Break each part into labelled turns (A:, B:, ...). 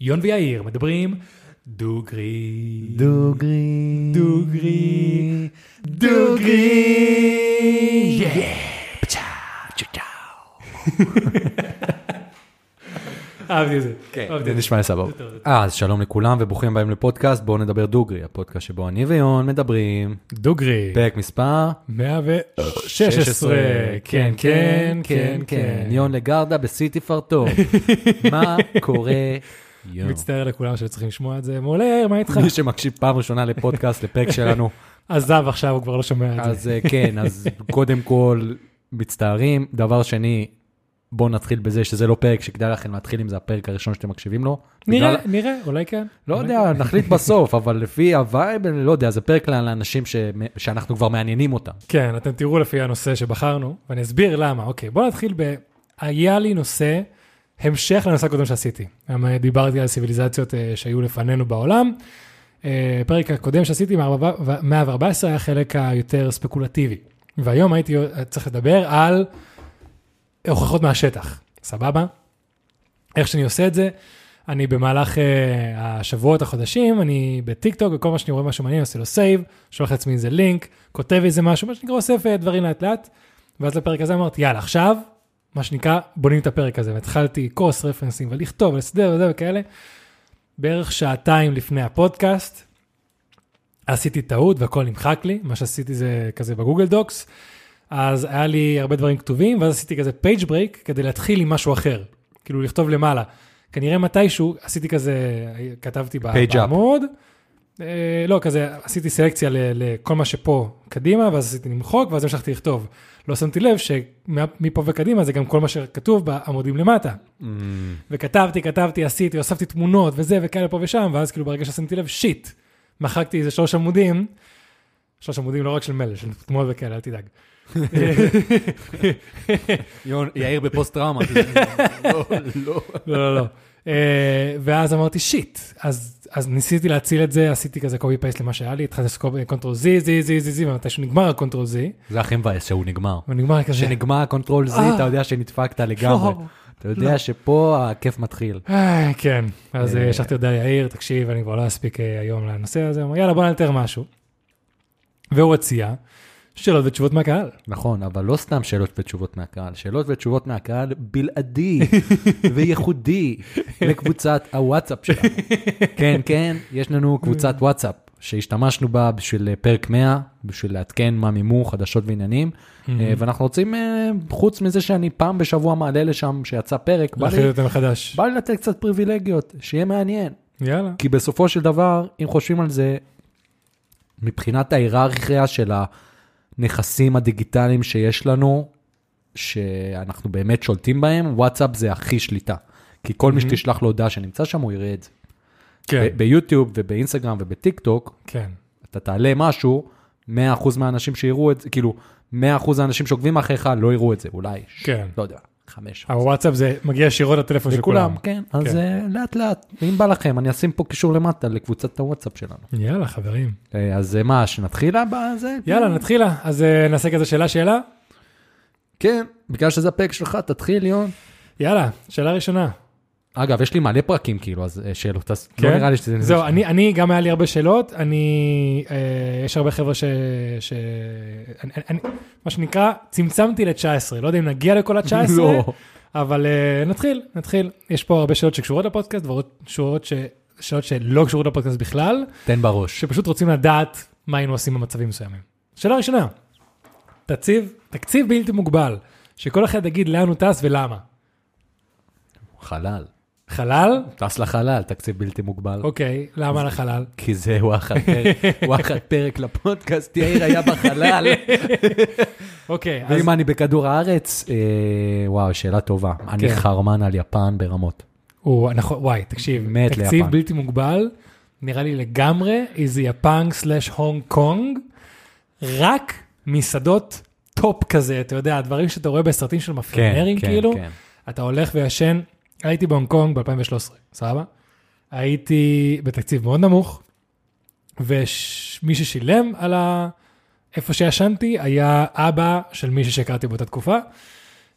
A: יון ויאיר מדברים דוגרי.
B: דוגרי.
A: דוגרי.
B: דוגרי.
A: יא, פצ'ה, צ'צ'או. אהבתי את זה.
B: כן,
A: אהבתי
B: זה
A: את
B: נשמע לי סבבה.
A: אוקיי.
B: אה,
A: זה טוב, זה
B: אז שלום לכולם וברוכים הבאים לפודקאסט, בואו נדבר דוגרי, הפודקאסט שבו אני ויון מדברים.
A: דוגרי.
B: פרק מספר
A: 116. כן, כן, כן, כן.
B: יון לגרדה בשיא תפארתו. מה קורה, יון?
A: מצטער לכולם שצריכים לשמוע את זה. מולה, מה איתך?
B: מי שמקשיב פעם ראשונה לפודקאסט, לפרק שלנו,
A: עזב עכשיו, הוא כבר לא שומע את זה.
B: אז אה, כן, אז קודם כל, מצטערים. דבר שני, בואו נתחיל בזה שזה לא פרק שכדאי לכם להתחיל אם זה הפרק הראשון שאתם מקשיבים לו.
A: נראה,
B: בגלל-
A: נראה, אולי כן.
B: לא
A: אולי
B: יודע, נחליט בסוף, אבל לפי הווייב, אני לא יודע, זה פרק לאנשים ש- שאנחנו כבר מעניינים אותם.
A: כן, אתם תראו לפי הנושא שבחרנו, ואני אסביר למה. אוקיי, בואו נתחיל ב... היה לי נושא, המשך לנושא הקודם שעשיתי. גם אה, דיברתי על סיביליזציות אה, שהיו לפנינו בעולם. אה, הפרק הקודם שעשיתי, 114, היה החלק היותר ספקולטיבי. והיום הייתי אה, צריך לדבר על הוכחות מהשטח, סבבה? איך שאני עושה את זה, אני במהלך uh, השבועות, החודשים, אני בטיקטוק, וכל מה שאני רואה משהו מעניין, עושה לו סייב, שולח לעצמי איזה לינק, כותב איזה משהו, מה שנקרא, אוסף אה, דברים לאט לאט, ואז לפרק הזה אמרתי, יאללה, עכשיו, מה שנקרא, בונים את הפרק הזה, והתחלתי קורס רפרנסים, ולכתוב, ולסדר וזה וכאלה. בערך שעתיים לפני הפודקאסט, עשיתי טעות והכל נמחק לי, מה שעשיתי זה כזה בגוגל דוקס, אז היה לי הרבה דברים כתובים, ואז עשיתי כזה פייג' ברייק כדי להתחיל עם משהו אחר, כאילו לכתוב למעלה. כנראה מתישהו עשיתי כזה, כתבתי ב-
B: Page up.
A: בעמוד, אה, לא, כזה עשיתי סלקציה ל- לכל מה שפה קדימה, ואז עשיתי למחוק, ואז המשכתי לכתוב. לא שמתי לב שמפה וקדימה זה גם כל מה שכתוב בעמודים למטה.
B: Mm.
A: וכתבתי, כתבתי, עשיתי, הוספתי תמונות וזה וכאלה פה ושם, ואז כאילו ברגע ששמתי לב, שיט, מחקתי איזה שלוש עמודים, שלוש עמודים לא רק של מלל, של תמונות וכאלה, אל תדאג.
B: יון, יאיר בפוסט טראומה. לא, לא.
A: לא, לא, לא. אה, ואז אמרתי, שיט. אז, אז ניסיתי להציל את זה, עשיתי כזה קובי פייסט למה שהיה לי, התחלתי לעשות קונטרול זי, זי, זי, זי, זי, ומתישהו נגמר הקונטרול זי,
B: זה הכי מבאס שהוא נגמר.
A: ונגמר כזה.
B: כשנגמר הקונטרול Z, אתה יודע שנדפקת לגמרי.
A: לא.
B: אתה יודע שפה הכיף מתחיל.
A: איי, כן, אז
B: אה,
A: אה, שלחתי הודעה יאיר, תקשיב, אני כבר לא אספיק אה, היום לנושא הזה, הוא אמר, יאללה, בוא נאלתר משהו. והוא הציע שאלות ותשובות מהקהל.
B: נכון, אבל לא סתם שאלות ותשובות מהקהל, שאלות ותשובות מהקהל בלעדי וייחודי לקבוצת הוואטסאפ שלנו. כן, כן, יש לנו קבוצת וואטסאפ שהשתמשנו בה בשביל אה, פרק 100, בשביל לעדכן מה מימו, חדשות ועניינים, אה, ואנחנו רוצים, אה, חוץ מזה שאני פעם בשבוע מעלה לשם שיצא פרק, בא לי-
A: להכין אותם מחדש.
B: בא לי לתת קצת פריבילגיות, שיהיה מעניין.
A: יאללה.
B: כי בסופו של דבר, אם חושבים על זה, מבחינת ההיררכיה של הנכסים הדיגיטליים שיש לנו, שאנחנו באמת שולטים בהם, וואטסאפ זה הכי שליטה. כי כל מי שתשלח לו הודעה שנמצא שם, הוא יראה את זה.
A: Mhm. כן,
B: ב- ביוטיוב ובאינסטגרם ובטיק טוק,
A: כן.
B: אתה תעלה משהו, 100% מהאנשים שיראו את זה, כאילו, 100% האנשים שעוקבים אחריך לא יראו את זה, אולי, ש-
A: כן.
B: לא יודע, חמש.
A: הוואטסאפ זה מגיע ישירות לטלפון של כולם.
B: לכולם, כן, אז
A: כן.
B: אה, לאט לאט, אם בא לכם, אני אשים פה קישור למטה לקבוצת הוואטסאפ שלנו.
A: יאללה, חברים.
B: אה, אז אה, מה, שנתחיל בזה?
A: יאללה, נתחיל. לה. אז אה, נעשה כזה שאלה-שאלה?
B: כן, בגלל שזה הפרק שלך, תתחיל, יון.
A: יאללה, שאלה ראשונה.
B: אגב, יש לי מלא פרקים כאילו, אז אה, שאלות, אז
A: כן?
B: לא נראה לי שזה...
A: זהו, אני, אני גם היה לי הרבה שאלות, אני, אה, יש הרבה חבר'ה ש... ש אני, אני, מה שנקרא, צמצמתי ל-19, לא יודע אם נגיע לכל ה-19,
B: לא.
A: אבל אה, נתחיל, נתחיל. יש פה הרבה שאלות שקשורות לפודקאסט, ושאלות ש... שאלות שלא קשורות לפודקאסט בכלל,
B: תן בראש.
A: שפשוט רוצים לדעת מה היינו עושים במצבים מסוימים. שאלה ראשונה, תקציב, תקציב בלתי מוגבל, שכל אחד יגיד לאן הוא טס ולמה.
B: חלל.
A: חלל?
B: טס לחלל, תקציב בלתי מוגבל.
A: אוקיי, למה לחלל?
B: כי זה וואחד פרק- וואחד פרק לפודקאסט, יאיר היה בחלל.
A: אוקיי, אז...
B: ואם אני בכדור הארץ, אה, וואו, שאלה טובה. אני
A: כן.
B: חרמן על יפן ברמות.
A: הוא, נכון, וואי, תקשיב,
B: מת
A: תקציב
B: ליפן.
A: בלתי מוגבל, נראה לי לגמרי איזה יפן סלאש הונג קונג, רק מסעדות טופ כזה, אתה יודע, הדברים שאתה רואה בסרטים
B: כן,
A: של מפרנרים, כאילו, אתה הולך וישן, הייתי בהונג קונג ב-2013, סבבה? הייתי בתקציב מאוד נמוך, ומי ששילם על ה... איפה שישנתי היה אבא של מישהו שהכרתי באותה תקופה,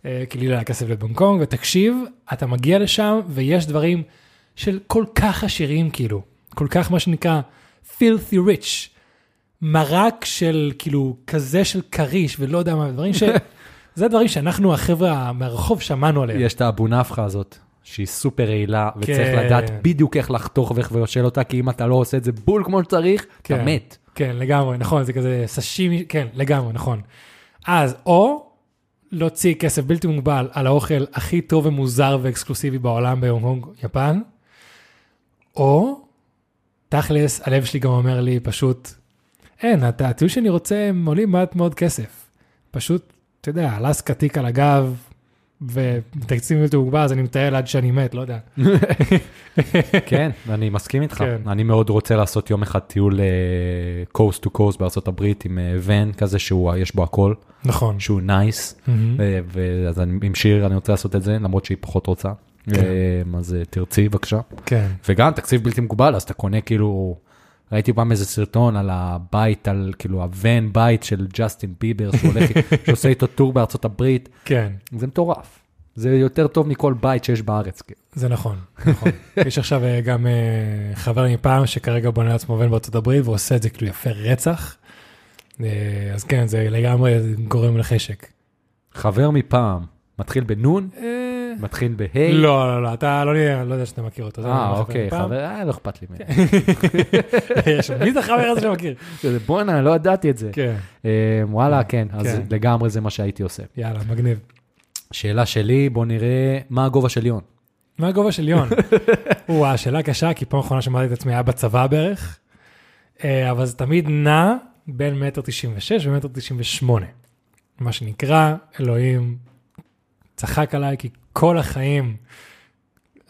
A: אה, כי לי לא היה כסף לבונג קונג, ותקשיב, אתה מגיע לשם ויש דברים של כל כך עשירים, כאילו, כל כך מה שנקרא filthy rich, מרק של, כאילו, כזה של כריש ולא יודע מה, דברים ש... זה דברים שאנחנו, החבר'ה מהרחוב, שמענו עליהם.
B: יש את האבו נפחא הזאת, שהיא סופר רעילה, וצריך
A: כן.
B: לדעת בדיוק איך לחתוך ואיך לבשל אותה, כי אם אתה לא עושה את זה בול כמו שצריך, אתה
A: כן.
B: מת.
A: כן, לגמרי, נכון, זה כזה סשימי, כן, לגמרי, נכון. אז או להוציא כסף בלתי מוגבל על האוכל הכי טוב ומוזר ואקסקלוסיבי בעולם בהונג קונג, יפן, או תכלס, הלב שלי גם אומר לי פשוט, אין, הת- הטיול שאני רוצה, הם עולים מעט מאוד כסף. פשוט, אתה יודע, אלסקה תיק על הגב, ותקציב בלתי מוגבל, אז אני מטייל עד שאני מת, לא יודע.
B: כן, אני מסכים איתך.
A: כן.
B: אני מאוד רוצה לעשות יום אחד טיול אה, קוסט טו קוסט בארצות הברית עם אה, ון כזה שהוא, יש בו הכל,
A: נכון.
B: שהוא נייס.
A: מהמם.
B: ואז אני- עם שיר אני רוצה לעשות את זה, למרות שהיא פחות רוצה. אה, אז אה, תרצי בבקשה.
A: כן.
B: וגם תקציב בלתי מוגבל, אז אתה קונה כאילו, ראיתי פעם איזה סרטון על הבית, על כאילו הוון בית של ג'סטין ביבר, שהולך, שעושה איתו טור בארצות הברית,
A: כן.
B: זה מטורף. זה יותר טוב מכל בית שיש בארץ. כאילו.
A: זה נכון, נכון. יש עכשיו אה, גם אה, חבר מפעם שכרגע בונה לעצמו בן בארצות הברית ועושה את זה כאילו יפה רצח. אה, אז כן, זה לגמרי גורם לחשק.
B: חבר מפעם, מתחיל בנון,
A: אה,
B: מתחיל בה'
A: לא, לא, לא, אתה לא נראה- לא יודע שאתה מכיר אותו. זה לא
B: אה,
A: חבר
B: אוקיי,
A: מפעם.
B: חבר, אה, לא אכפת לי ממנו.
A: יש, מי זה החבר הזה שמכיר?
B: כזה, בואנה, לא ידעתי את זה.
A: כן,
B: אה, וואלה, כן, אז
A: כן.
B: לגמרי זה מה שהייתי עושה.
A: יאללה, מגניב.
B: שאלה שלי, בוא נראה מה הגובה של יון.
A: מה הגובה של יון? וואו, שאלה קשה, כי פעם אחרונה שמעתי את עצמי היה בצבא בערך, אה, אבל זה תמיד נע בין מטר תשעים ושש ומטר תשעים ושמונה. מה שנקרא, אלוהים צחק עליי, כי כל החיים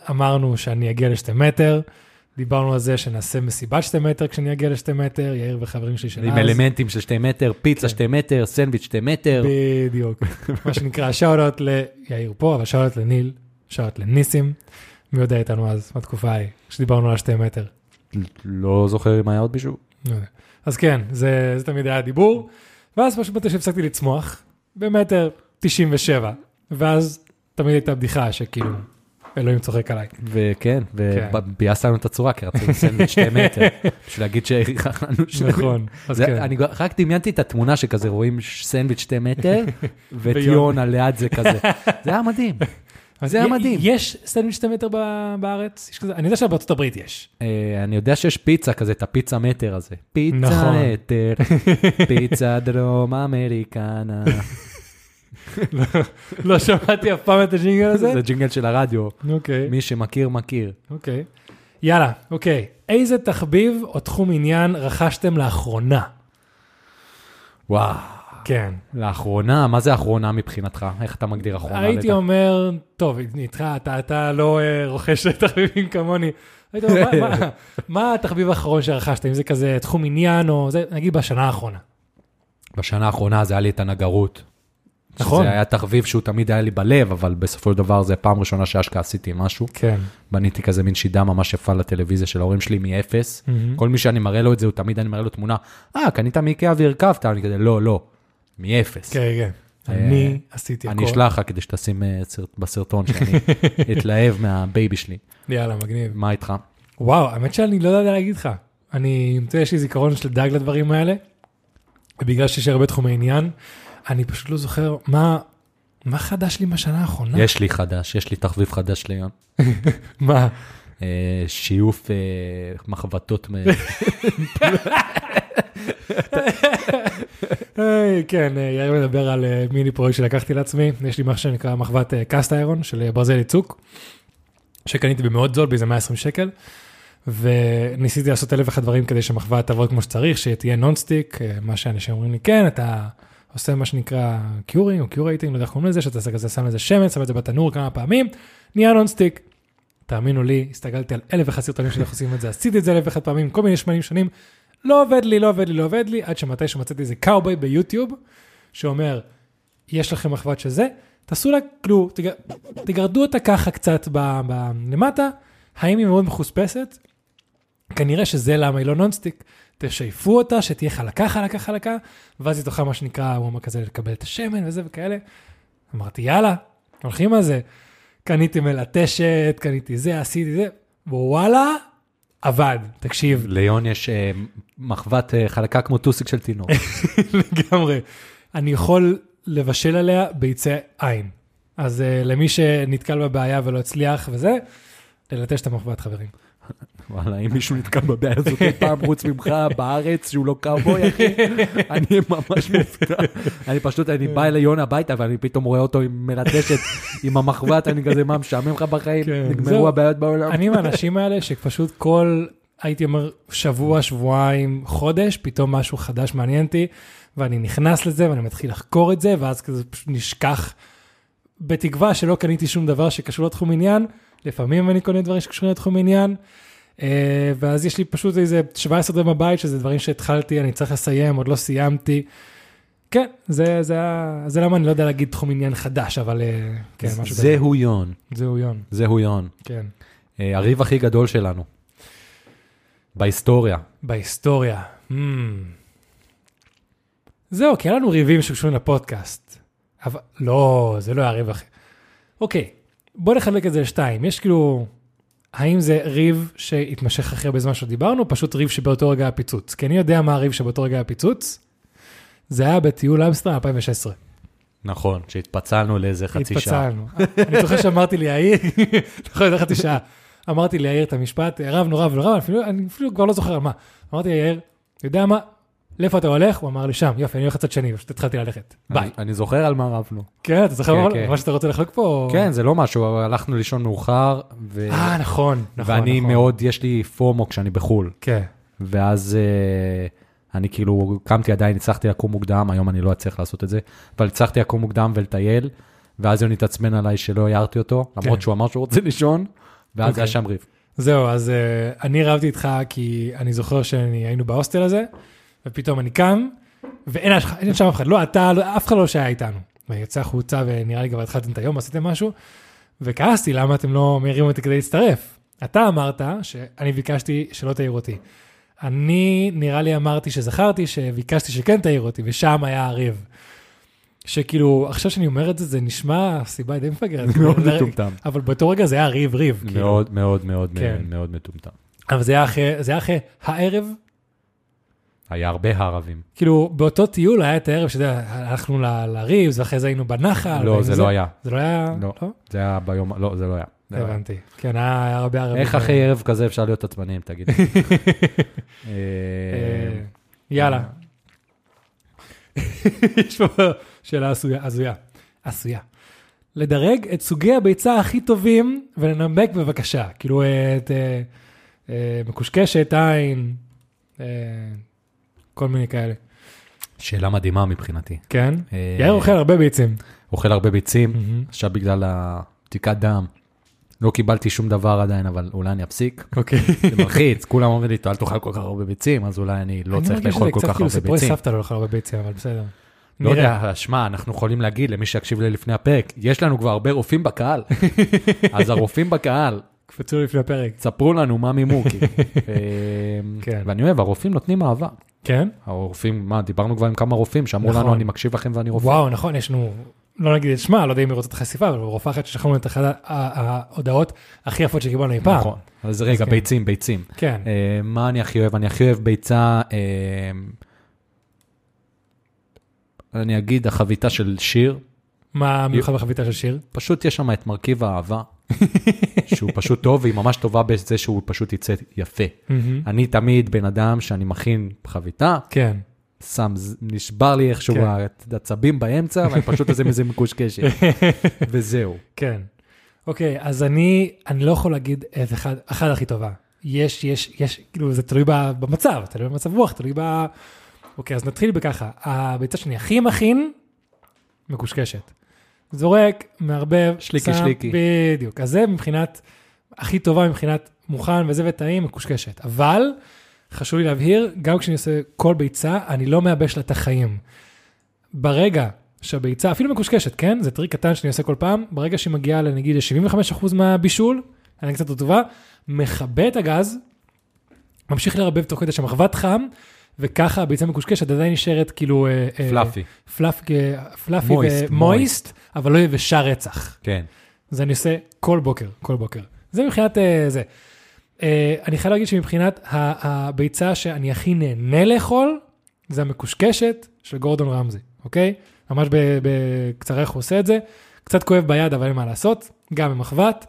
A: אמרנו שאני אגיע לשתי מטר, דיברנו על זה שנעשה מסיבת שתי מטר כשאני אגיע לשתי מטר, יאיר וחברים שלי של
B: עם
A: אז.
B: אלמנטים של כן. שתי מטר, פיצה שתי מטר, סנדוויץ' שתי מטר.
A: בדיוק. מה שנקרא, שאולות ליאיר פה, אבל שאולות לניל, שאולות לניסים. מי יודע איתנו אז, בתקופה ההיא, כשדיברנו על שתי מטר.
B: לא זוכר אם היה עוד מישהו.
A: לא יודע. אז כן, זה, זה תמיד היה הדיבור. ואז פשוט מתי שהפסקתי לצמוח, במטר 97. ואז תמיד הייתה בדיחה שכאילו, אלוהים צוחק עליי.
B: וכן,
A: כן.
B: וביאסת לנו את הצורה, כי רצינו סנדוויץ' שתי מטר, בשביל להגיד שהכרחנו
A: נכון, אז כן.
B: אני רק דמיינתי את התמונה שכזה רואים ש- סנדוויץ' שתי מטר, ואת
A: ויונה.
B: יון על ליד זה כזה. זה היה מדהים.
A: אז
B: זה היה
A: י-
B: מדהים.
A: יש סטנדוויץ' 2 מטר ב- בארץ? יש כזה, אני יודע שבארצות הברית יש.
B: אה, אני יודע שיש פיצה כזה, את הפיצה מטר הזה. פיצה
A: נכון.
B: מטר, פיצה דרום אמריקנה.
A: לא שמעתי אף פעם את הג'ינגל הזה?
B: זה ג'ינגל של הרדיו,
A: אוקיי.
B: מי שמכיר מכיר.
A: אוקיי. יאללה, אוקיי. איזה תחביב או תחום עניין רכשתם לאחרונה?
B: וואו,
A: כן.
B: לאחרונה, מה זה אחרונה מבחינתך? איך אתה מגדיר אחרונה? לדעתך?
A: הייתי אומר, טוב, איתך, אתה, אתה לא אה, רוכש תחביבים כמוני. הייתי אומר, מה, מה, מה התחביב האחרון שרכשת? אם זה כזה תחום עניין או זה, נגיד בשנה האחרונה.
B: בשנה האחרונה זה היה לי את הנגרות.
A: נכון.
B: זה היה תחביב שהוא תמיד היה לי בלב, אבל בסופו של דבר זה פעם ראשונה שאשכרה עשיתי משהו.
A: כן.
B: בניתי כזה מין שידה ממש יפה לטלוויזיה של ההורים שלי מאפס.
A: מהמם.
B: כל מי שאני מראה לו את זה, הוא תמיד אני מראה לו תמונה, אה, קנית מאיקאה והרכבת, אני כזה, לא, לא, מאפס.
A: כן, כן. אני עשיתי הכול.
B: אה, אני אשלח לך כדי שתשים אה, סרט- בסרטון שאני אתלהב מהבייבי שלי.
A: יאללה, מגניב.
B: מה איתך?
A: וואו, האמת שאני לא יודע להגיד לך. אני, אתה יודע, יש לי זיכרון של דג לדברים האלה, ובגלל שיש לי הרבה תחומי עניין, אני פשוט לא זוכר מה, מה חדש לי בשנה האחרונה.
B: יש לי חדש, יש לי תחביב חדש ליום.
A: מה?
B: אה, שיוף אה, מחבטות מ-
A: היי, כן, אה, יאיר מדבר על אה, מיני פרויקט שלקחתי לעצמי, יש לי מה שנקרא מחבת קאסט איירון של אה, ברזל יצוק, שקניתי במאוד זול, באיזה 120 שקל, וניסיתי לעשות אלף ואחד דברים כדי שהמחבת תעבוד כמו שצריך, שתהיה נונסטיק, אה, מה שאנשים אומרים לי, כן, אתה עושה מה שנקרא קיורינג או קיורייטינג, לא יודע איך קוראים לזה, שאתה עושה כזה, שם לזה שמץ, שם את זה בתנור כמה פעמים, נהיה נונסטיק. תאמינו לי, הסתכלתי על אלף ואחד סרטונים של איך עושים את זה, עשיתי את זה אלף ואחד פעמים, כל מיני שמנים שונים, לא עובד לי, לא עובד לי, לא עובד לי, עד שמתי שמצאתי איזה קאובוי ביוטיוב, שאומר, יש לכם מחבת של זה, תעשו לה, כאילו, תג... תגרדו אותה ככה קצת ב... ב... למטה, האם היא מאוד מחוספסת? כנראה שזה למה היא לא נונסטיק. תשייפו אותה, שתהיה חלקה, חלקה, חלקה, ואז היא תוכל מה שנקרא, הוא אמר כזה, לקבל את השמן וזה וכאלה. אמרתי, יאללה, הולכים על זה. קניתי מלטשת, קניתי זה, עשיתי זה, וואלה, עבד, תקשיב,
B: ליון יש אה, מחבת אה, חלקה כמו טוסיק של תינוק.
A: לגמרי. אני יכול לבשל עליה ביצי עין. אז אה, למי שנתקל בבעיה ולא הצליח וזה, ללטש את המחבת חברים.
B: וואלה, אם מישהו נתקע בבעיה הזאת אי פעם חוץ ממך בארץ, שהוא לא קאובוי, אחי, אני ממש מופתע. אני פשוט, אני בא ליון הביתה ואני פתאום רואה אותו עם מלטשת, עם המחבת, אני כזה, מה, משעמם לך בחיים?
A: כן, זהו.
B: נגמרו הבעיות בעולם?
A: אני מהאנשים האלה שפשוט כל, הייתי אומר, שבוע, שבועיים, חודש, פתאום משהו חדש מעניין אותי, ואני נכנס לזה ואני מתחיל לחקור את זה, ואז כזה פשוט נשכח, בתקווה שלא קניתי שום דבר שקשור לתחום עניין, לפעמים אני קונה דברים שקשורים לתחום עניין, אה, ואז יש לי פשוט איזה 17 דברים בבית, שזה דברים שהתחלתי, אני צריך לסיים, עוד לא סיימתי. כן, זה, זה, ה- זה למה אני לא יודע להגיד תחום עניין חדש, אבל אה, כן, משהו כזה.
B: זהו יון,
A: זהו יון,
B: זהו יון.
A: כן.
B: אה, הריב הכי גדול שלנו. בהיסטוריה.
A: בהיסטוריה. Hmm. זהו, כי היה לנו ריבים שקשורים לפודקאסט. אבל לא, זה לא היה ריב אחר. אוקיי, בוא נחלק את זה לשתיים. יש כאילו, האם זה ריב שהתמשך אחרי הרבה זמן שדיברנו, או פשוט ריב שבאותו רגע היה פיצוץ? כי אני יודע מה הריב שבאותו רגע היה פיצוץ. זה היה בטיול אמסטרם 2016.
B: נכון, שהתפצלנו לאיזה חצי שעה.
A: התפצלנו. אני זוכר שאמרתי ליאיר, נכון, זה חצי שעה. אמרתי ליאיר את המשפט, רבנו, רבנו, רבנו, אפילו- אני אפילו כבר לא זוכר על מה. אמרתי ליאיר, אתה יודע מה, לאיפה אתה הולך? הוא אמר לי, שם, יופי, אני הולך לצד שני, פשוט התחלתי ללכת. ביי.
B: אני- אני זוכר על מה רבנו.
A: כן, אתה זוכר
B: כן,
A: מה-
B: כן.
A: מה שאתה רוצה לחלוק פה? או-
B: כן, זה לא משהו, אבל הלכנו לישון מאוחר, ו-
A: נכון. אה, נכון, נכון, נכון.
B: ואני מאוד, יש לי פומו כשאני בחו"ל.
A: כן,
B: ואז אה, אני כאילו קמתי עדיין, הצלחתי לקום מוקדם, היום אני לא אצליח לעשות את זה, אבל הצלחתי לקום מוקדם ולטייל, ואז יוני התעצמן עליי שלא הערתי אותו,
A: כן.
B: למרות שהוא אמר שהוא רוצה לישון, ואז
A: אוקיי.
B: היה שם ריב.
A: זהו, אז אה, אני רבתי איתך כי אני זוכר שהיינו בהוסטל הזה, ופתאום אני קם, ואין אף- אין שם אף אחד, לא אתה, לא- אף אחד לא שהיה איתנו. ואני יוצא החוצה, ונראה לי כבר התחלתם את היום, עשיתם משהו, וכעסתי, למה אתם לא מעירים אותי כדי להצטרף? אתה אמרת שאני ביקשתי שלא תעיר אותי. אני, נראה לי אמרתי שזכרתי שביקשתי שכן תעיר אותי, ושם היה הריב. שכאילו, עכשיו שאני אומר את זה, זה נשמע סיבה די מפגרת.
B: מאוד
A: אבל-
B: מטומטם.
A: אבל באותו רגע זה היה ריב, ריב. כן, כאילו.
B: מאוד מאוד מאוד
A: כן.
B: מאוד מטומטם.
A: אבל זה היה אחרי, זה היה אחרי הערב,
B: היה הרבה הערבים.
A: כאילו באותו טיול היה את הערב שאתה יודע, הלכנו ל- לריבס, ואחרי זה היינו בנחל.
B: לא,
A: והיינו
B: זה לא היה.
A: זה לא היה?
B: לא. זה היה ביום, לא, זה לא היה. זה לא היה.
A: הבנתי. כן, היה היה הרבה ערבים.
B: איך אחרי ערב כזה אפשר להיות עצבניים, תגיד? לי? אה,
A: אה, יאללה. יש פה שאלה עשויה- הזויה. עשויה. לדרג את סוגי הביצה הכי טובים ולנמק בבקשה. כאילו אה, את אה, אה, מקושקשת, עין, אה, כל מיני כאלה.
B: שאלה מדהימה מבחינתי.
A: כן?
B: אה, כן.
A: יאיר אוכל הרבה ביצים.
B: אוכל הרבה ביצים,
A: מהמם.
B: עכשיו בגלל הבדיקת דם. לא קיבלתי שום דבר עדיין, אבל אולי אני אפסיק.
A: אוקיי.
B: זה מלחיץ, כולם אומרים לי, אל תאכל כל כך הרבה ביצים, אז אולי אני לא צריך לאכול כל כך
A: אני מרגיש שזה קצת כאילו
B: הרבה
A: סיפורי
B: ביצים.
A: סבתא לא לאכול הרבה ביצים, אבל בסדר.
B: לא
A: נראה.
B: יודע, שמע, אנחנו יכולים להגיד למי שיקשיב לי לפני הפרק, יש לנו כבר הרבה רופאים בקהל. אז הרופאים בקהל,
A: קפצו לפני הפרק.
B: ספרו לנו מה מימוקי.
A: כן.
B: ואני אוהב, הרופאים נותנים אהבה.
A: כן?
B: הרופאים, מה, דיברנו כבר עם כמה רופאים שאמרו
A: נכון.
B: לנו, אני מקשיב לכם ואני רופא.
A: וואו, נכון, יש לנו, לא נגיד את שמה, לא יודע אם היא רוצה את חשיפה, אבל רופאה אחת ששכחנו את אחת ה- ה- ההודעות הכי יפות שקיבלנו אי פעם.
B: נכון. אז רגע,
A: כן.
B: ביצים, ביצים.
A: כן.
B: אה, מה אני הכי אוהב? אני הכי אוהב ביצה, אה, אני אגיד, החביתה של שיר.
A: מה מיוחד בחביתה של שיר?
B: פשוט יש שם את מרכיב האהבה, שהוא פשוט טוב, והיא ממש טובה בזה שהוא פשוט יצא יפה. אני תמיד בן אדם שאני מכין חביתה,
A: כן.
B: שם, ז- נשבר לי איכשהו
A: כן.
B: העצבים באמצע, ואני פשוט עושה מזה מקושקשת, וזהו.
A: כן. אוקיי, אז אני, אני לא יכול להגיד את אחד, אחת הכי טובה. יש, יש, יש, כאילו זה תלוי ב- במצב, תלוי במצב רוח, תלוי ב... אוקיי, אז נתחיל בככה. הביצה שאני הכי מכין, מקושקשת. זורק, מערבב,
B: שליקי,
A: שם,
B: שליקי.
A: בדיוק. אז זה מבחינת, הכי טובה מבחינת מוכן וזה וטעים, מקושקשת. אבל, חשוב לי להבהיר, גם כשאני עושה כל ביצה, אני לא מייבש לה את החיים. ברגע שהביצה, אפילו מקושקשת, כן? זה טריק קטן שאני עושה כל פעם, ברגע שהיא מגיעה לנגיד ל-75% מהבישול, אני קצת רטובה, מכבה את הגז, ממשיך לרבב תוך כדי שמחבת חם, וככה הביצה מקושקשת עדיין נשארת כאילו... אה, אה,
B: פלאפי.
A: פלאפ, אה, פלאפי
B: מויסט,
A: ומויסט, אבל לא יבשה רצח.
B: כן.
A: זה אני עושה כל בוקר, כל בוקר. זה מבחינת אה, זה. אה, אני חייב להגיד שמבחינת ה- הביצה שאני הכי נהנה לאכול, זה המקושקשת של גורדון רמזי, אוקיי? ממש ב- בקצרך הוא עושה את זה. קצת כואב ביד, אבל אין מה לעשות, גם במחבת.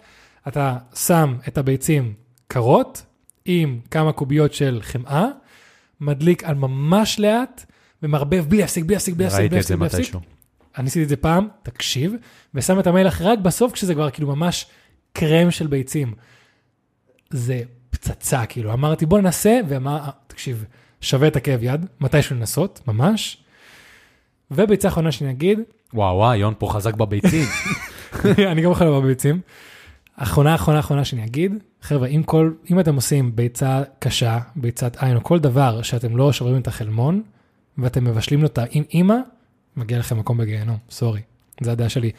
A: אתה שם את הביצים קרות, עם כמה קוביות של חמאה, מדליק על ממש לאט, ומערבב בלי להפסיק, בלי להפסיק, בלי להפסיק,
B: ראיתי
A: בלי
B: את זה
A: להפסיק, בלי להפסיק.
B: מתישהו.
A: אני עשיתי את זה פעם, תקשיב, ושם את המלח רק בסוף, כשזה כבר כאילו ממש קרם של ביצים. זה פצצה, כאילו. אמרתי, בוא ננסה, ואמר, "אה, תקשיב, שווה את הכאב יד, מתישהו לנסות, ממש. וביצה אחרונה שאני אגיד,
B: וואו, וואו, יון פה חזק בביצים.
A: אני גם אוכל הרבה ביצים. אחרונה, אחרונה, אחרונה שאני אגיד, חבר'ה, אם, כל, אם אתם עושים ביצה קשה, ביצת עין, או כל דבר שאתם לא שוברים את החלמון, ואתם מבשלים לו אותה עם אימא, מגיע לכם מקום בגיהנום, סורי, זה הדעה שלי.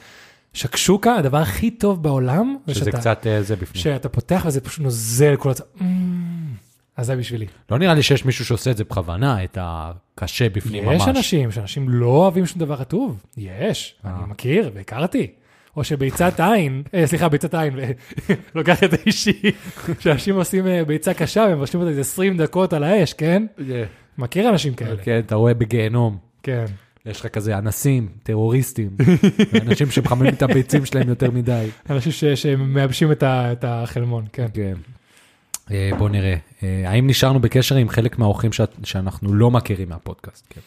A: שקשוקה, הדבר הכי טוב בעולם, זה
B: שזה
A: שאתה,
B: קצת אה, זה בפנים.
A: שאתה פותח וזה פשוט נוזל כל הצד, אז זה בשבילי.
B: לא נראה לי שיש מישהו שעושה את זה בכוונה, את הקשה בפנים ממש.
A: יש אנשים, שאנשים לא אוהבים שום דבר רטוב, יש,
B: אה.
A: אני מכיר והכרתי. או שביצת עין, אה, סליחה, ביצת עין, לוקח את זה אישי, שאנשים עושים אה, ביצה קשה ומבשלים אותה איזה 20 דקות על האש, כן? מכיר אנשים כאלה.
B: כן, אתה רואה בגיהנום.
A: כן.
B: יש לך כזה אנסים, טרוריסטים, אנשים שמחממים את הביצים שלהם יותר מדי.
A: אנשים ש- שמייבשים את ה- את החלמון, כן.
B: כן. אה, בוא נראה, אה, האם נשארנו בקשר עם חלק מהאורחים שאת- שאנחנו לא מכירים מהפודקאסט? כן.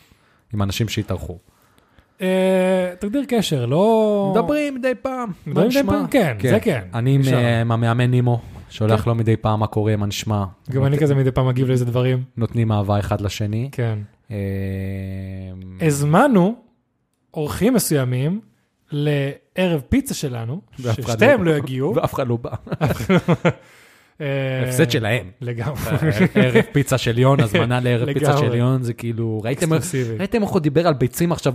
B: עם אנשים שהתארחו.
A: אה, תגדיר קשר, לא...
B: מדברים מדי פעם, מה
A: מדברים מדי
B: נשמע?
A: פעם? כן, זה כן.
B: אני עם,
A: נשאר.
B: אה, עם המאמן נימו, שולח
A: כן.
B: לו מדי פעם מה קורה, מה נשמע.
A: גם אני
B: אוקיי.
A: כזה מדי פעם מגיב לאיזה דברים,
B: נותנים אהבה אחד לשני.
A: כן.
B: אה,
A: הזמנו אורחים מסוימים לערב פיצה שלנו,
B: ואף אחד לא-
A: ששתיהם לא יגיעו.
B: ואף אחד לא בא.
A: אה,
B: הפסד שלהם. אה,
A: לגמרי.
B: ערב פיצה של יון, הזמנה לערב פיצה של
A: לגמרי.
B: יון, זה כאילו, ראיתם איך-
A: אקסקלוסיבי.
B: ראיתם איך הוא דיבר על ביצים עכשיו?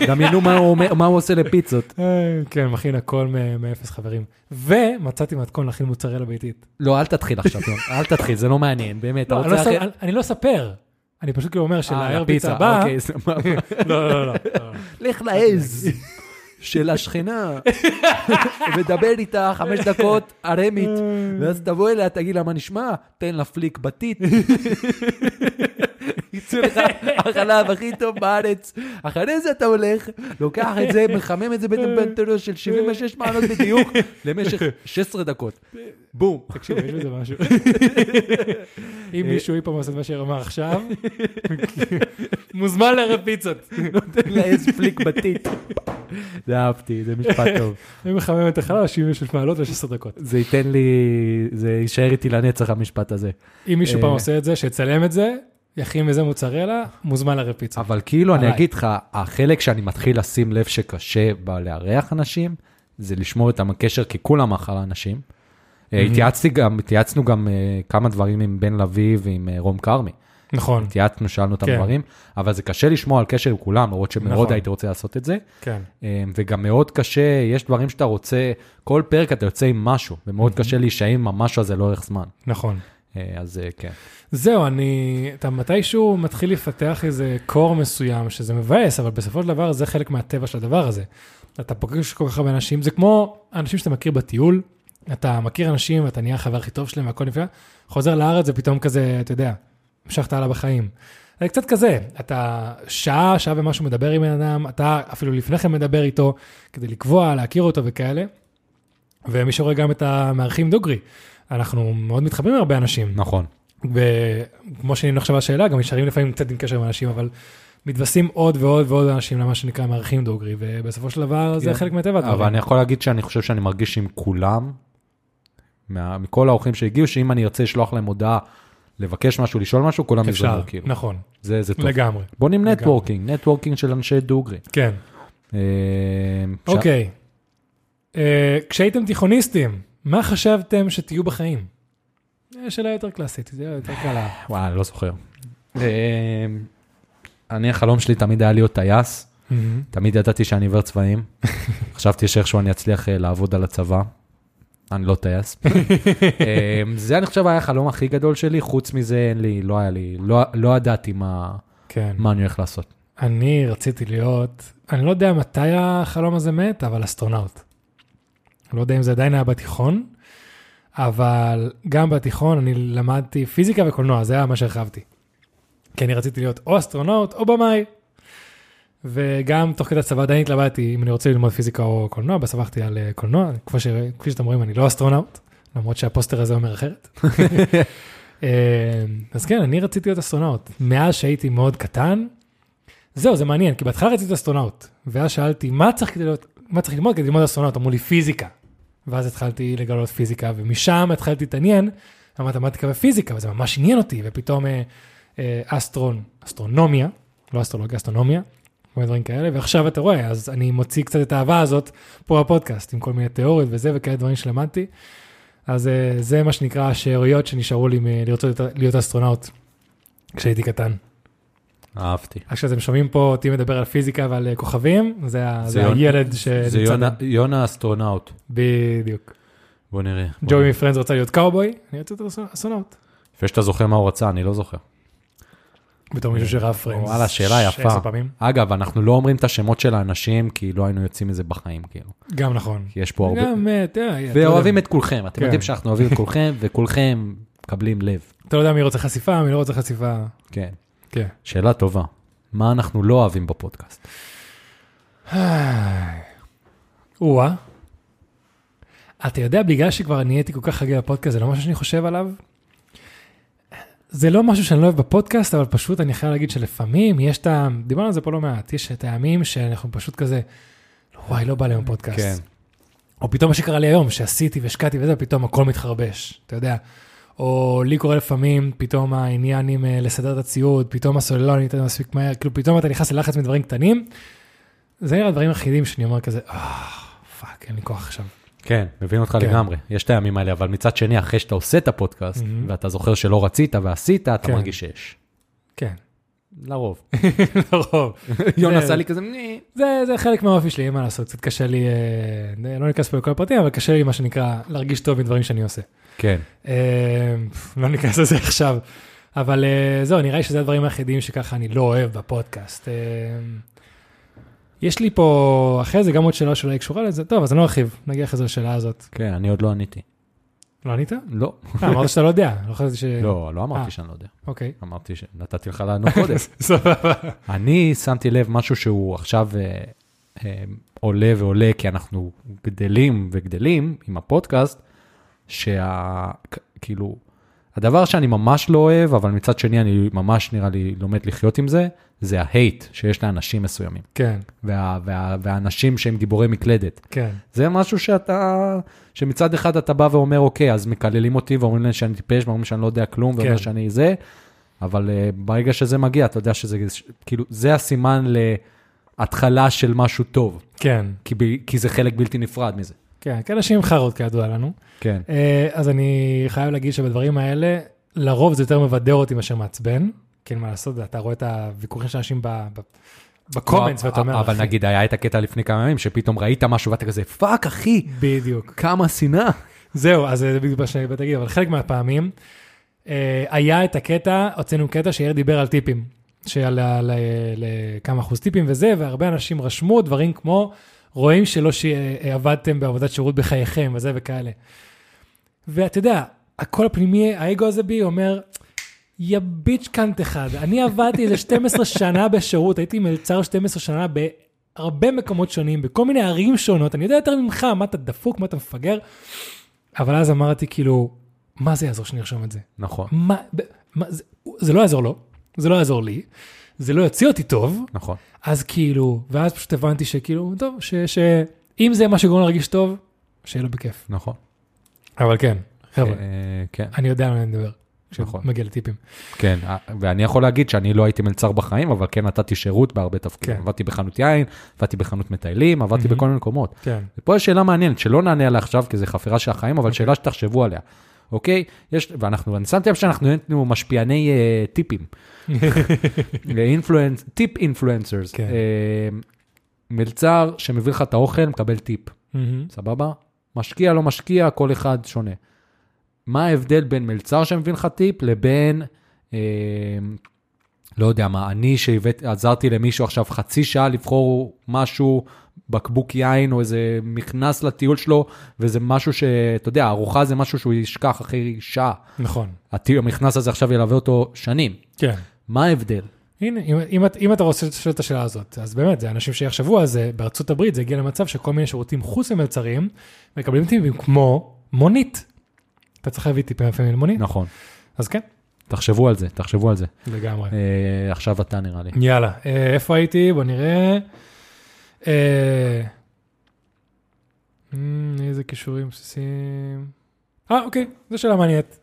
B: דמיינו מה הוא אומר- מה הוא עושה לפיצות.
A: אה, כן, מכין הכל מ- מאפס חברים. ומצאתי מתכון להכין מוצרלה ביתית.
B: לא, אל תתחיל עכשיו, יון, אל תתחיל, זה לא מעניין, באמת. אתה
A: לא, אני
B: רוצה
A: לא
B: אחרי-
A: אספר- אני- אני לא אספר, אני פשוט כאילו אומר
B: אה,
A: שלערב
B: לפיצה,
A: פיצה הבאה...
B: אוקיי, סבבה.
A: לא, לא, לא, לא.
B: לך לעז של השכנה, ודבר איתה חמש דקות ארמית, ואז תבוא אליה, תגיד לה מה נשמע, תן לה פליק בתית. יצא לך החלב הכי טוב בארץ. אחרי זה אתה הולך, לוקח את זה, מחמם את זה בטמפנטוריה של 76 מעלות בדיוק, למשך 16 דקות. בום.
A: תקשיב, יש בזה משהו.
B: אה,
A: אם מישהו אי פעם עושה את מה שאמר עכשיו, מוזמן לערב פיצות.
B: נותן לה עז פליק בתית. זה אהבתי, זה משפט טוב.
A: אני מחמם את החלל, 76 מעלות ו-16 דקות.
B: זה ייתן לי, זה יישאר איתי לנצח המשפט הזה.
A: אם מישהו
B: אה.
A: פעם עושה את זה, שיצלם את זה, יכין מזה מוצרלה, מוזמן לערב פיצה.
B: אבל כאילו, אני
A: עליי.
B: אגיד לך, החלק שאני מתחיל לשים לב שקשה בלארח אנשים, זה לשמור איתם הקשר, כי כולם אחר האנשים. אה, התייעצתי גם, התייעצנו גם אה, כמה דברים עם בן לביא ועם אה, רום כרמי.
A: נכון,
B: התייעצנו, שאלנו אותם
A: כן.
B: דברים, אבל זה קשה לשמור על קשר עם כולם, למרות שמאוד
A: נכון.
B: הייתי רוצה לעשות את זה.
A: כן.
B: אה, וגם מאוד קשה, יש דברים שאתה רוצה, כל פרק אתה יוצא עם משהו, ומאוד קשה להישאר עם המשהו הזה לאורך זמן.
A: נכון.
B: אה, אז אה, כן.
A: זהו, אני... אתה מתישהו מתחיל לפתח איזה קור מסוים, שזה מבאס, אבל בסופו של דבר זה חלק מהטבע של הדבר הזה. אתה פוגש כל כך הרבה אנשים, זה כמו אנשים שאתה מכיר בטיול, אתה מכיר אנשים ואתה נהיה החבר הכי טוב שלהם והכל נפלא, חוזר לארץ ופתאום כזה, אתה יודע, המשכת הלאה בחיים. זה קצת כזה, אתה שעה, שעה ומשהו מדבר עם בן אדם, אתה אפילו לפני כן מדבר איתו, כדי לקבוע, להכיר אותו וכאלה. ומי שרואה גם את המארחים דוגרי, אנחנו מאוד מתחברים להרבה אנשים.
B: נכון.
A: וכמו שענינו עכשיו על השאלה, גם נשארים לפעמים קצת עם קשר עם אנשים, אבל מתווספים עוד ועוד ועוד אנשים למה שנקרא מערכים דוגרי, ובסופו של דבר זה
B: כן.
A: חלק מטבע
B: אבל
A: הדברים.
B: אני יכול להגיד שאני חושב שאני מרגיש עם כולם, מה- מכל האורחים שהגיעו, שאם אני ארצה לשלוח להם הודעה, לבקש משהו, לשאול משהו, כולם
A: אפשר,
B: יזמו, כאילו.
A: נכון,
B: זה זה טוב.
A: לגמרי,
B: בוא נעים
A: לגמרי.
B: נטוורקינג, נטוורקינג של אנשי דוגרי.
A: כן.
B: אה, אפשר-
A: אוקיי. אה, כשהייתם תיכוניסטים, מה חשבתם שתהיו בחיים? אה, שאלה יותר קלאסית, זה יותר קלה.
B: וואי, אני לא זוכר. אה, אני, החלום שלי תמיד היה להיות טייס. תמיד ידעתי שאני עיוור צבעים. חשבתי שאיכשהו אני אצליח אה, לעבוד על הצבא. אני לא טייס. אה, זה אני חושב היה החלום הכי גדול שלי, חוץ מזה אין לי, לא היה לי, לא- לא ידעתי מה
A: כן.
B: מה אני הולך לעשות.
A: אני רציתי להיות, אני לא יודע מתי החלום הזה מת, אבל אסטרונאוט. אני לא יודע אם זה עדיין היה בתיכון, אבל גם בתיכון אני למדתי פיזיקה וקולנוע, זה היה מה שהרחבתי. כי אני רציתי להיות או אסטרונאוט או במאי. וגם תוך כדי הצבא עדיין התלבטתי אם אני רוצה ללמוד פיזיקה או קולנוע, בסוף הלכתי על אה, קולנוע, כמו ש... כפי שאתם רואים אני לא אסטרונאוט, למרות שהפוסטר הזה אומר אחרת. אה, אז כן, אני רציתי להיות אסטרונאוט. מאז שהייתי מאוד קטן, זהו, זה מעניין, כי בהתחלה רציתי להיות אסטרונאוט, ואז שאלתי, מה צריך כדי להיות, מה צריך ללמוד כדי ללמוד אסטרונאוט? אמרו לי, פיזיקה. ואז התחלתי לגלות פיזיקה, ומשם התחלתי להתעניין במתמטיקה ופיזיקה, וזה ממש עניין אותי, ופתאום אה, אה, אסטרון, אסטרונומיה, לא אסטרולוגיה, אסטרונומיה, כל מיני דברים כאלה, ועכשיו אתה רואה, אז אני מוציא קצת את האהבה הזאת פה בפודקאסט, עם כל מיני תיאוריות וזה, וכאלה דברים שלמדתי. אז אה, זה מה שנקרא השאריות שנשארו לי מלרצות להיות- להיות אסטרונאוט כשהייתי קטן.
B: אהבתי.
A: אז כשאתם שומעים פה אותי מדבר על פיזיקה ועל אה, כוכבים, זה, ה-
B: זה
A: זה
B: יונה-
A: הילד שנמצא...
B: זה יונה- יונה אסטרונאוט.
A: בדיוק.
B: בוא נראה. בוא
A: ג'וי
B: נראה.
A: מפרנדס רצה להיות קאובוי, אני רוצה להיות אסונאוט.
B: לפני שאתה זוכר מה הוא רצה, אני לא זוכר.
A: בתור מישהו שראה פרנדס.
B: כן. וואלה, שאלה יפה.
A: 16 פעמים.
B: אגב, אנחנו לא אומרים את השמות של האנשים, כי לא היינו יוצאים מזה בחיים, כאילו.
A: גם נכון.
B: כי יש פה הרבה...
A: גם, אה, אתה יודע, אתה
B: ואוהבים
A: יודע-
B: את כולכם, אתם
A: כן.
B: יודעים שאנחנו אוהבים את כולכם, וכולכם מקבלים לב.
A: אתה לא יודע מי רוצה חשיפה, מי לא רוצה חשיפה.
B: כן.
A: כן.
B: שאלה טובה, מה אנחנו לא אוהבים בפודקאסט?
A: או-אה. אתה יודע, בגלל שכבר נהייתי כל כך חגי בפודקאסט, זה לא משהו שאני חושב עליו? זה לא משהו שאני לא אוהב בפודקאסט, אבל פשוט אני חייב להגיד שלפעמים יש את ה... דיברנו על זה פה לא מעט, יש את הימים שאנחנו פשוט כזה, וואי, לא בא לי היום פודקאסט.
B: כן.
A: או פתאום מה שקרה לי היום, שעשיתי והשקעתי וזה, פתאום הכל מתחרבש, אתה יודע. או לי קורה לפעמים, פתאום העניין עם אה, לסדר את הציוד, פתאום הסוללה לא ניתן מספיק מהר, כאילו פתאום אתה נכנס ללחץ מדברים קטנים. זה נראה הדברים היחידים שאני אומר כזה, אה, פאק, אין לי כוח עכשיו.
B: כן, מבין אותך
A: כן.
B: לגמרי, יש את הימים האלה, אבל מצד שני, אחרי שאתה עושה את הפודקאסט,
A: מהמם.
B: ואתה זוכר שלא רצית ועשית, אתה
A: Mm-hmm. כן.
B: מרגיש שיש.
A: כן,
B: לרוב.
A: לרוב. כן.
B: יון
A: זה-
B: עשה לי כזה, "נה".
A: זה, זה חלק מהאופי שלי, אין מה לעשות, קצת קשה לי, אה, לא ניכנס פה לכל הפרטים, אבל קשה לי, מה שנקרא, להרגיש טוב מדברים שאני עושה.
B: כן,
A: אה, לא ניכנס לזה עכשיו, אבל אה, זהו, נראה לי שזה הדברים היחידים שככה אני לא אוהב בפודקאסט. אה, יש לי פה, אחרי זה גם עוד שאלה שאולי קשורה לזה, טוב, אז אני לא ארחיב, נגיע אחרי זה לשאלה הזאת.
B: כן, אני עוד לא עניתי.
A: לא ענית?
B: לא,
A: אה, אמרת שאתה לא יודע, לא חשבתי ש...
B: לא, לא
A: אה.
B: אמרתי שאני לא יודע.
A: אוקיי.
B: אמרתי שנתתי לך לענות קודם.
A: סבבה.
B: אני שמתי לב משהו שהוא עכשיו אה, אה, עולה ועולה, כי אנחנו גדלים וגדלים עם הפודקאסט, שכאילו, הדבר שאני ממש לא אוהב, אבל מצד שני אני ממש נראה לי לומד לחיות עם זה, זה ההייט שיש לאנשים מסוימים,
A: כן,
B: וה, וה, והאנשים שהם גיבורי מקלדת.
A: כן,
B: זה משהו שאתה, שמצד אחד אתה בא ואומר, אוקיי, אז מקללים אותי ואומרים לי שאני טיפש, ואומרים שאני לא יודע כלום, ואומרים
A: כן.
B: שאני זה, אבל uh, ברגע שזה מגיע, אתה יודע שזה, ש- כאילו, זה הסימן להתחלה של משהו טוב,
A: כן,
B: כי, ב, כי זה חלק בלתי נפרד מזה.
A: כן, כאלה שהם חארות כידוע לנו.
B: כן.
A: אה, אז אני חייב להגיד שבדברים האלה, לרוב זה יותר מבדר אותי מאשר מעצבן, כי אין מה לעשות, אתה רואה את הוויכוחים של אנשים ב- ב- בקומנטס, ואתה אומר,
B: לא, אבל
A: "אחי,
B: נגיד, היה את הקטע לפני כמה ימים, שפתאום ראית משהו ואתה כזה, פאק, אחי,
A: בדיוק.
B: כמה שנאה.
A: זהו, אז זה בדיוק מה שאני בא להגיד, אבל חלק מהפעמים, אה, היה את הקטע, הוצאנו קטע שיאיר דיבר על טיפים, שעל ה- ל- לכמה אחוז טיפים וזה, והרבה אנשים רשמו דברים כמו, רואים שלא ש- אה, עבדתם בעבודת שירות בחייכם וזה וכאלה. ואתה יודע, הקול הפנימי, האגו הזה בי אומר, יא ביץ' קאנט אחד, אני עבדתי איזה 12 שנה בשירות, הייתי מלצר 12 שנה בהרבה מקומות שונים, בכל מיני ערים שונות, אני יודע יותר ממך, מה אתה דפוק, מה אתה מפגר, אבל אז אמרתי כאילו, מה זה יעזור שנרשום את זה?
B: נכון,
A: מה, ב- מה זה, זה לא יעזור לו, זה לא יעזור לי, זה לא יוציא אותי טוב,
B: נכון.
A: אז כאילו, ואז פשוט הבנתי שכאילו, טוב, ש- שאם זה מה שגורם לו להרגיש טוב, שיהיה לו בכיף.
B: נכון.
A: אבל כן, חבר'ה,
B: אה, כן,
A: אני יודע על מה אני מדבר,
B: נכון.
A: כשמגיע לטיפים.
B: כן, אה, ואני יכול להגיד שאני לא הייתי מלצר בחיים, אבל כן נתתי שירות בהרבה תפקידים.
A: כן.
B: עבדתי בחנות יין, עבדתי בחנות מטיילים, עבדתי
A: מהמם.
B: בכל מיני מקומות.
A: כן,
B: ופה יש שאלה מעניינת, שלא נענה עליה עכשיו, כי זו חפירה של החיים, אבל שאלה שתחשבו עליה, אוקיי? יש, ואנחנו, אני שמתי לב שאנחנו היינו משפיעני אה, טיפים. אינפלואנס, טיפ אינפלואנסרס. אה,
A: כן.
B: מלצר שמביא לך את האוכל, מקבל טיפ,
A: מהמם.
B: סבבה? משקיע, לא משקיע, כל אחד שונה. מה ההבדל בין מלצר שמביא לך טיפ לבין, אה, לא יודע מה, אני שעזרתי למישהו עכשיו חצי שעה לבחור משהו בקבוק יין או איזה מכנס לטיול שלו, וזה משהו שאתה יודע, ארוחה זה משהו שהוא ישכח אחרי שעה.
A: נכון,
B: הטיול, המכנס הזה עכשיו ילווה אותו שנים.
A: כן.
B: מה ההבדל?
A: הנה, אם, אם, את- אם אתה רוצה לשאול את השאלה הזאת, אז באמת, זה אנשים שיחשבו על זה, בארצות הברית זה הגיע למצב שכל מיני שירותים חוץ ממלצרים, מקבלים טיפים כמו מונית. אתה צריך להביא טיפים לפעמים למונית,
B: נכון.
A: אז כן,
B: תחשבו על זה, תחשבו על זה.
A: לגמרי.
B: אה, עכשיו אתה נראה לי.
A: יאללה, אה, איפה הייתי? בוא נראה. אה, אמ, איזה כישורים בסיסיים? אה, אוקיי, זו שאלה מעניינת.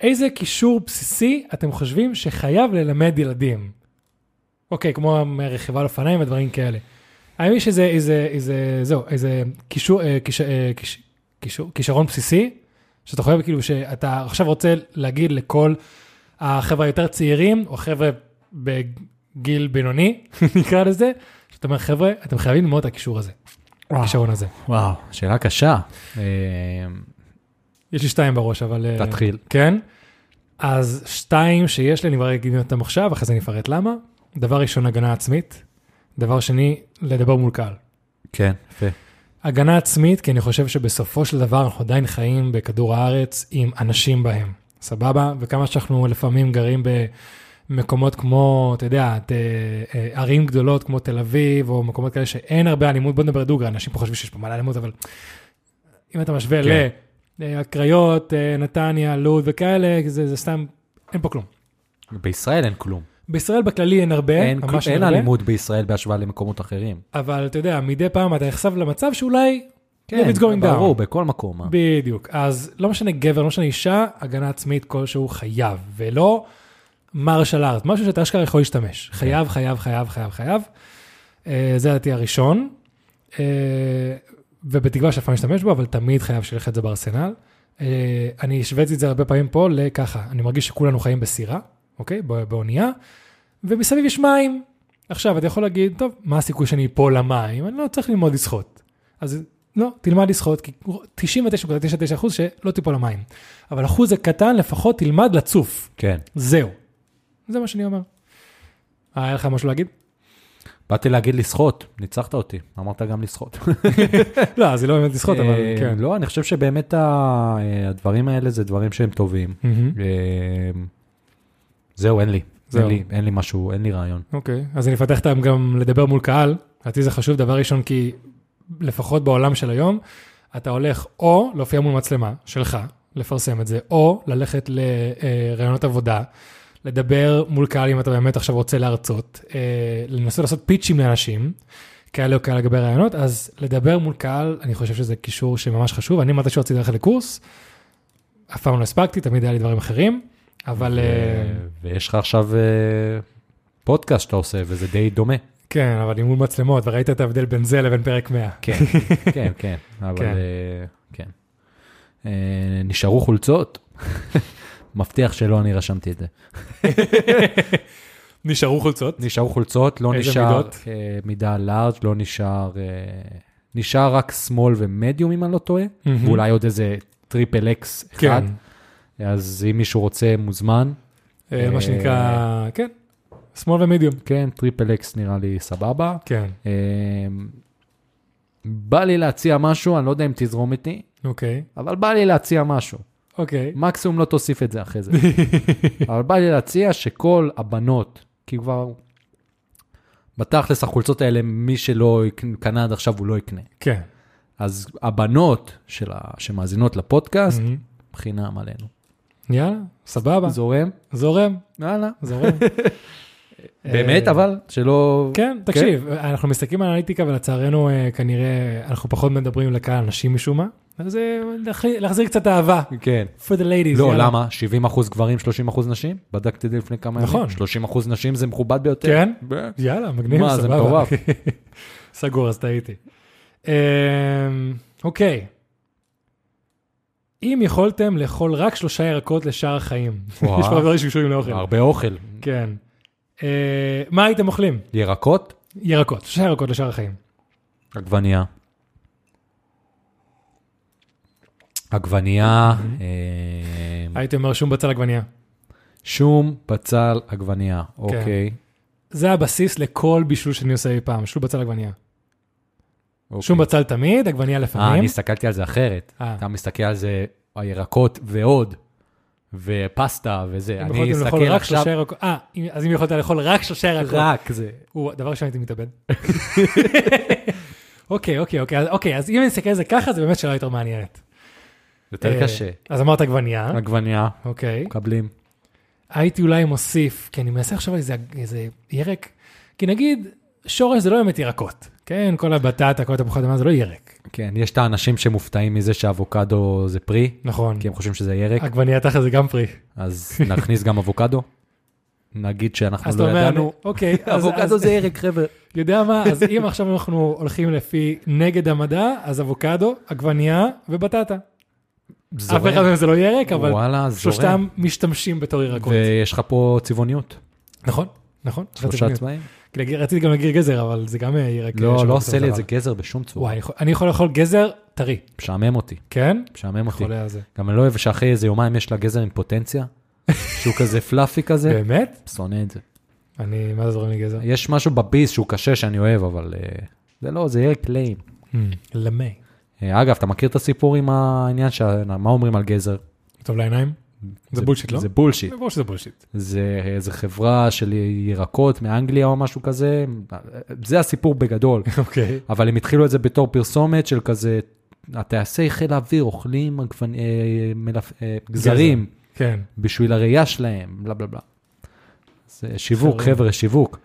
A: איזה כישור בסיסי אתם חושבים שחייב ללמד ילדים? אוקיי, כמו המ- רכיבה על אופניים ודברים כאלה. האמת שזה איזה, איזה, זהו, איזה כישור, אה, כיש, אה, כיש, כישור, כישרון בסיסי, שאתה חייב כאילו, שאתה עכשיו רוצה להגיד לכל החבר'ה היותר צעירים, או חבר'ה בגיל בינוני, נקרא לזה, שאתה אומר, חבר'ה, אתם חייבים ללמוד את הקישור הזה, הכישרון הזה.
B: וואו, שאלה קשה. אה,
A: יש לי שתיים בראש, אבל... אה,
B: תתחיל.
A: כן. אז שתיים שיש לי, אני כבר אגיד אותם עכשיו, אחרי זה אני אפרט למה. דבר ראשון, הגנה עצמית. דבר שני, לדבר מול קהל.
B: כן, יפה.
A: הגנה עצמית, כי אני חושב שבסופו של דבר אנחנו עדיין חיים בכדור הארץ עם אנשים בהם, סבבה? וכמה שאנחנו לפעמים גרים במקומות כמו, אתה יודע, ת, אה, ערים גדולות כמו תל אביב, או מקומות כאלה שאין הרבה אלימות, בוא נדבר דוגרי, אנשים פה חושבים שיש פה מלא אלימות, אבל אם אתה משווה
B: כן.
A: כן. לקריות, אה, נתניה, לוד וכאלה, זה, זה סתם, אין פה כלום.
B: בישראל אין כלום.
A: בישראל בכללי אין הרבה,
B: אין, כלום,
A: כן, ממש
B: אין
A: הרבה.
B: אלימות בישראל בהשוואה למקומות אחרים.
A: אבל אתה יודע, מדי פעם אתה נחשף למצב שאולי... כן, it's going down.
B: ברור, בכל מקום. אה.
A: בדיוק. אז לא משנה גבר, לא משנה אישה, הגנה עצמית כלשהו חייב, ולא מרשל ארט, משהו שאתה אשכרה יכול להשתמש. חייב, חייב, חייב, חייב, חייב. אה, זה לדעתי הראשון, אה, ובתקווה שאף פעם נשתמש בו, אבל תמיד חייב שיהיה לך את זה בארסנל. אה, אני השוויתי את זה הרבה פעמים פה לככה, אני מרגיש שכולנו חיים בסירה, אוקיי? בא- באונייה, ומסביב יש מים. עכשיו, אתה יכול להגיד, טוב, מה הסיכוי שאני אפול למים? אני לא צריך ללמוד לשחות. אז לא, תלמד לשחות, כי 99.99% שלא תיפול למים. אבל אחוז הקטן לפחות תלמד לצוף,
B: כן.
A: זהו. זה מה שאני אומר. אה, היה לך משהו להגיד?
B: באתי להגיד לשחות, ניצחת אותי, אמרת גם לשחות.
A: לא, זה לא באמת לשחות, אבל
B: אה,
A: כן.
B: לא, אני חושב שבאמת ה- אה, הדברים האלה זה דברים שהם טובים.
A: מהמם.
B: אה, זהו, אין לי.
A: זהו.
B: אין לי- אין לי משהו, אין לי רעיון.
A: אוקיי, אז אני אפתח אותם גם לדבר מול קהל. לדעתי זה חשוב, דבר ראשון, כי לפחות בעולם של היום, אתה הולך או להופיע מול מצלמה שלך, לפרסם את זה, או ללכת לראיונות עבודה, לדבר מול קהל אם אתה באמת עכשיו רוצה להרצות, אה, לנסות לעשות פיצ'ים לאנשים, כאלה או כאלה לגבי ראיונות, אז לדבר מול קהל, אני חושב שזה קישור שממש חשוב. אני מתישהו רציתי ללכת לקורס, אף פעם לא הספקתי, תמיד היה לי דברים אחרים, אבל... אה,
B: אה, ויש לך עכשיו אה, פודקאסט שאתה עושה, וזה די דומה.
A: כן, אבל עם מול מצלמות, וראית את ההבדל בין זה לבין פרק 100.
B: כן, כן, כן, אבל
A: כן.
B: אה, כן. אה, נשארו חולצות? מבטיח שלא, אני רשמתי את זה.
A: נשארו חולצות.
B: נשארו חולצות, לא
A: איזה
B: נשאר
A: מידות?
B: אה, מידה לארג', לא נשאר, אה, נשאר רק שמאל ומדיום, אם אני לא טועה,
A: מהמם.
B: ואולי עוד איזה טריפל אקס אחד.
A: כן,
B: אז אם מישהו רוצה, מוזמן.
A: אה, מה שנקרא, כן, שמאל ומדיום.
B: כן, טריפל אקס נראה לי סבבה.
A: כן,
B: אה, בא לי להציע משהו, אני לא יודע אם תזרום איתי,
A: אוקיי,
B: אבל בא לי להציע משהו.
A: אוקיי.
B: מקסימום לא תוסיף את זה אחרי זה. אבל בא לי להציע שכל הבנות, כי כבר... בתכלס החולצות האלה, מי שלא יק- קנה עד עכשיו הוא לא יקנה.
A: כן.
B: אז הבנות של ה... שמאזינות לפודקאסט,
A: מהמם.
B: חינם עלינו.
A: יאללה, סבבה,
B: זורם?
A: זורם,
B: יאללה.
A: זורם.
B: באמת,
A: אה,
B: אבל שלא...
A: כן, תקשיב, אנחנו מסתכלים על אנליטיקה ולצערנו אה, כנראה אנחנו פחות מדברים לקהל נשים משום מה, אז אה, להחזיר- להחזיר קצת אהבה.
B: כן.
A: For the ladies.
B: לא,
A: יאללה.
B: למה? 70 אחוז גברים, 30 אחוז נשים? בדקתי את זה לפני כמה ימים.
A: נכון.
B: 30 אחוז נשים זה מכובד ביותר.
A: כן?
B: ב-
A: יאללה, מגניב,
B: מה,
A: סבבה.
B: זה מטורף.
A: סגור, אז טעיתי. אמ, אוקיי. אם יכולתם לאכול רק שלושה ירקות לשאר החיים, יש
B: וואו.
A: פה דברים שקשורים לאוכל.
B: הרבה אוכל.
A: כן. אה, מה הייתם אוכלים?
B: ירקות?
A: ירקות, שלושה ירקות לשאר החיים.
B: עגבנייה. עגבנייה,
A: אוקיי.
B: אה,
A: הייתי אומר שום בצל עגבנייה.
B: שום, בצל, עגבנייה.
A: כן.
B: אוקיי.
A: זה הבסיס לכל בישול שאני עושה אי פעם, שום בצל עגבנייה. שום בצל תמיד, עגבנייה
B: אוקיי. אה,
A: לפעמים.
B: אני הסתכלתי על זה אחרת.
A: אה.
B: אתה מסתכל על זה, הירקות ועוד, ופסטה וזה.
A: אם
B: אני
A: יכולתם
B: אסתכל
A: לאכול רק
B: עכשיו,
A: שלושה ירקות, אה, אם- אז אם יכולת לאכול רק שלושה ירקות,
B: רק זה.
A: הוא- דבר ראשון הייתי מתאבד. אוקיי, אוקיי, אוקיי, אז- אוקיי, אז אם אני מסתכל על זה ככה, זה באמת שאלה יותר מעניינת.
B: זה יותר
A: אה,
B: קשה.
A: אז אמרת עגבנייה,
B: עגבנייה,
A: אוקיי.
B: מקבלים.
A: הייתי אולי מוסיף, כי אני מנסה לחשוב על איזה, איזה ירק, כי נגיד, שורש זה לא באמת ירקות, כן? כל הבטטה, כל התפוחי אדמה זה לא ירק,
B: כן, יש את האנשים שמופתעים מזה שאבוקדו זה פרי,
A: נכון.
B: כי הם חושבים שזה ירק,
A: עגבנייה תחת זה גם פרי.
B: אז נכניס גם אבוקדו. נגיד שאנחנו
A: אז אתה
B: לא
A: אומר,
B: ידענו.
A: אוקיי, אז-
B: אבוקדו
A: אז-
B: זה ירק, חבר'ה.
A: יודע מה, אז אם עכשיו אנחנו הולכים לפי נגד המדע, אז אבוקדו, עגבנייה ובטטה. אף אחד
B: זורם.
A: מהם זה לא ירק, אבל
B: וואלה, זורם.
A: שלושתם משתמשים בתור ירקות.
B: ויש לך פה צבעוניות,
A: נכון, נכון.
B: שלושה
A: רציתי-
B: צבעים.
A: כי להגיד- רציתי גם להגיד גזר, אבל זה גם אה, ירק. אה,
B: לא,
A: שלא
B: לא
A: עושה
B: עושה לי את
A: דבר.
B: זה גזר בשום צורה.
A: וואי, אני יכול- אני יכול לאכול גזר טרי,
B: משעמם אותי,
A: כן?
B: משעמם אותי.
A: חולה על זה.
B: גם אני לא אוהב שאחרי איזה יומיים יש לה גזר עם פוטנציה, שהוא כזה פלאפי כזה,
A: באמת?
B: שונא את זה.
A: אני, מה זה זורם לי גזר?
B: יש משהו בביס שהוא קשה שאני אוהב, אבל אה, זה לא, זה ירק ליים.
A: Hmm. למי.
B: אה, אגב, אתה מכיר את הסיפור עם העניין, שה- מה אומרים על גזר?
A: טוב לעיניים? זה בולשיט, לא?
B: זה בולשיט.
A: ברור שזה בולשיט.
B: זה איזה חברה של ירקות מאנגליה או משהו כזה, אה, זה הסיפור בגדול.
A: אוקיי.
B: אבל הם התחילו את זה בתור פרסומת של כזה, הטייסי חיל האוויר אוכלים עגבנ- אה, מלפ- אה, גזרים
A: כן.
B: בשביל הראייה שלהם, בלה בלה בלה. זה שיווק,
A: חרא.
B: חבר'ה, שיווק.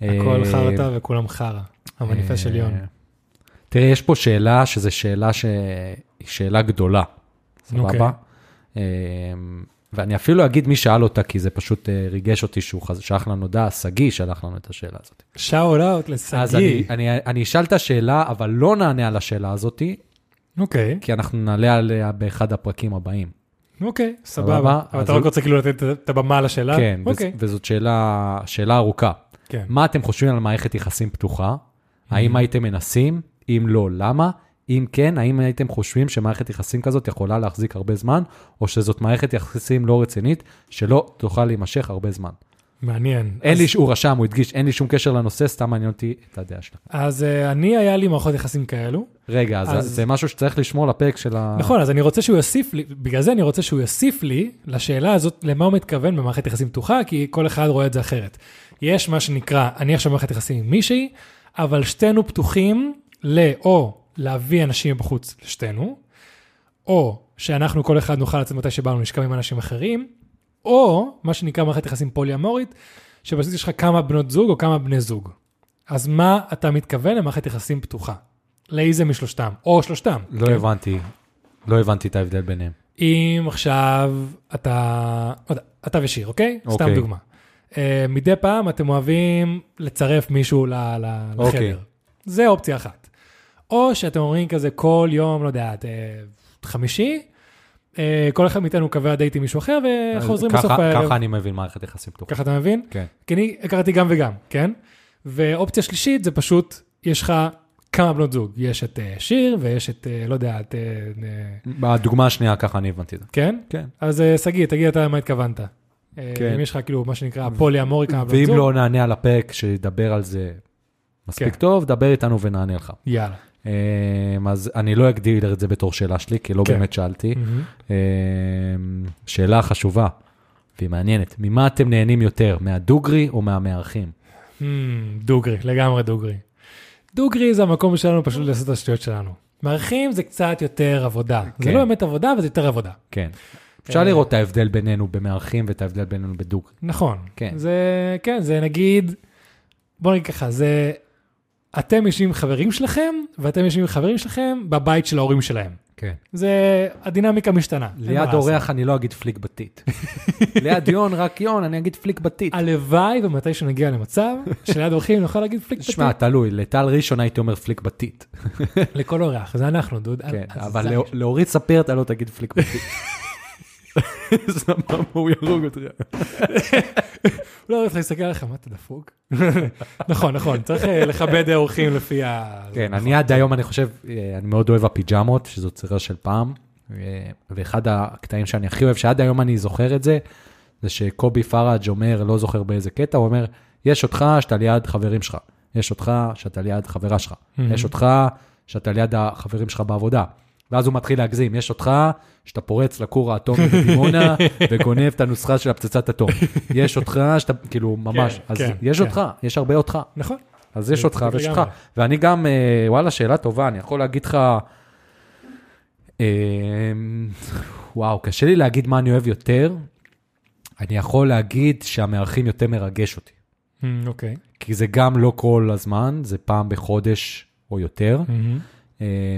A: הכל
B: אה,
A: חרטא וכולם חרא. המניפסט של יון.
B: אה, תראה, יש פה שאלה שזו שאלה שהיא שאלה גדולה, סבבה?
A: אוקיי.
B: אה, ואני אפילו אגיד מי שאל אותה, כי זה פשוט אה, ריגש אותי שהוא חז- שלח לנו הודעה, שגיא שלח לנו את השאלה הזאת.
A: שאול אאוט
B: אז אני-
A: לשגיא.
B: אני אני אשאל את השאלה, אבל לא נענה על השאלה הזאת,
A: אוקיי,
B: כי אנחנו נעלה עליה באחד הפרקים הבאים.
A: אוקיי,
B: סבבה?
A: סבבה. אבל אתה
B: אז-
A: רק רוצה כאילו לתת את הבמה לשאלה?
B: כן, וז-
A: אוקיי.
B: וזאת שאלה שאלה ארוכה.
A: כן. Mm-hmm.
B: מה אתם חושבים על מערכת יחסים פתוחה? האם הייתם מנסים? אם לא, למה? אם כן, האם הייתם חושבים שמערכת יחסים כזאת יכולה להחזיק הרבה זמן, או שזאת מערכת יחסים לא רצינית, שלא תוכל להימשך הרבה זמן?
A: מעניין.
B: אין
A: אז-
B: לי, ש- הוא רשם, הוא הדגיש, אין לי שום קשר לנושא, סתם מעניין אותי את הדעה שלך.
A: אז אה, אני, היה לי מערכות יחסים כאלו.
B: רגע, אז
A: אז-
B: זה משהו שצריך לשמור לפרק של ה...
A: נכון, אז אני רוצה שהוא יוסיף לי, בגלל זה אני רוצה שהוא יוסיף לי לשאלה הזאת, למה הוא מתכוון במערכת יחסים פתוחה, כי כל אחד רואה את זה אחרת. יש מה שנקרא, אני עכשיו במערכת יחסים עם מישהי, אבל שתינו פתוחים ל- או להביא אנשים בחוץ לשתינו, או שאנחנו כל אחד נוכל לצאת מתי שבאנו לשכב עם אנשים אחרים, או מה שנקרא מערכת יחסים פולי-אמורית, שבסיס יש לך כמה בנות זוג או כמה בני זוג. אז מה אתה מתכוון למערכת יחסים פתוחה? לאיזה משלושתם, או שלושתם.
B: לא הבנתי, לא הבנתי את ההבדל ביניהם.
A: אם עכשיו אתה, לא יודע, אתה ושיר, אוקיי?
B: אוקיי.
A: סתם דוגמה. Uh, מדי פעם אתם אוהבים לצרף מישהו ל- ל- לחדר.
B: אוקיי.
A: זה אופציה אחת. או שאתם אומרים כזה כל יום, לא יודע, את, אה, חמישי, אה, כל אחד מאיתנו קבע דייט עם מישהו אחר וחוזרים
B: ככה-
A: אה, בסוף הערב.
B: ככה אני מבין מערכת יחסים פתוחה.
A: ככה אתה מבין?
B: כן.
A: כי אני הכרתי גם וגם, כן? ואופציה שלישית זה פשוט, יש לך כמה בנות זוג. יש את אה, שיר ויש את, אה, לא יודע, את... אה, אה,
B: בדוגמה השנייה, ככה אני הבנתי את זה.
A: כן?
B: כן.
A: אז אה, שגיא, תגיד אתה למה התכוונת. אה,
B: כן.
A: אם יש לך כאילו מה שנקרא פולי אמורי כמה בנות
B: ואם
A: זוג,
B: לא נענה על הפרק שידבר על זה מספיק
A: כן.
B: טוב, דבר איתנו ונענה לך.
A: יאללה.
B: אמ, אז אני לא אגדיר את זה בתור שאלה שלי, כי לא
A: כן.
B: באמת שאלתי. אמ, שאלה חשובה והיא מעניינת, ממה אתם נהנים יותר, מהדוגרי או מהמארחים?
A: Hmm, דוגרי, לגמרי דוגרי. דוגרי זה המקום שלנו
B: אה?
A: פשוט לעשות את השטויות שלנו. מארחים זה קצת יותר עבודה. זה
B: כן.
A: לא באמת עבודה, אבל זה יותר עבודה.
B: כן. אפשר
A: אה,
B: לראות את ההבדל בינינו במארחים ואת ההבדל בינינו בדוגרי.
A: נכון.
B: כן.
A: זה, כן, זה נגיד, בוא נגיד ככה, זה, אתם יושבים עם חברים שלכם, ואתם יושבים עם חברים שלכם בבית של ההורים שלהם.
B: כן.
A: זה, הדינמיקה משתנה. אין מה
B: ליד
A: לעשות.
B: אורח אני לא אגיד פליק בתית. ליד יון, רק יון, אני אגיד פליק בתית.
A: הלוואי ומתי שנגיע למצב, שליד אורחים נוכל להגיד פליק פליק
B: תשמע, תלוי, לטל ראשון הייתי אומר פליק בתית.
A: לכל אורח, זה אנחנו, דוד.
B: כן,
A: אז
B: אבל
A: זה-
B: לא- להוריד ספיר אתה לא תגיד פליק בתית. סבבה, הוא יהרוג אותך.
A: לא, צריך להסתכל עליך, מה אתה דפוק? נכון, נכון, צריך אה, לכבד אורחים לפי ה...
B: כן, אני עד היום, אני חושב, אה, אני מאוד אוהב הפיג'מות, שזו צירה של פעם, אה, ואחד הקטעים שאני הכי אוהב, שעד היום אני זוכר את זה, זה שקובי פראג' אומר, לא זוכר באיזה קטע, הוא אומר, יש אותך שאתה ליד חברים שלך, יש אותך שאתה ליד חברה שלך,
A: Mhm.
B: יש אותך שאתה ליד החברים שלך בעבודה. ואז הוא מתחיל להגזים, יש אותך, שאתה פורץ לכור האטומי בדימונה וגונב את הנוסחה של הפצצת אטום. יש אותך, שאתה, כאילו, ממש,
A: כן,
B: אז
A: כן,
B: יש
A: כן.
B: אותך, יש הרבה אותך.
A: נכון.
B: אז יש אותך ויש אותך.
A: לגמרי.
B: ואני גם, אה, וואלה, שאלה טובה, אני יכול להגיד לך... אה, וואו, קשה לי להגיד מה אני אוהב יותר. אני יכול להגיד שהמארחים יותר מרגש אותי.
A: אמ, אוקיי.
B: כי זה גם לא כל הזמן, זה פעם בחודש או יותר.
A: אמ,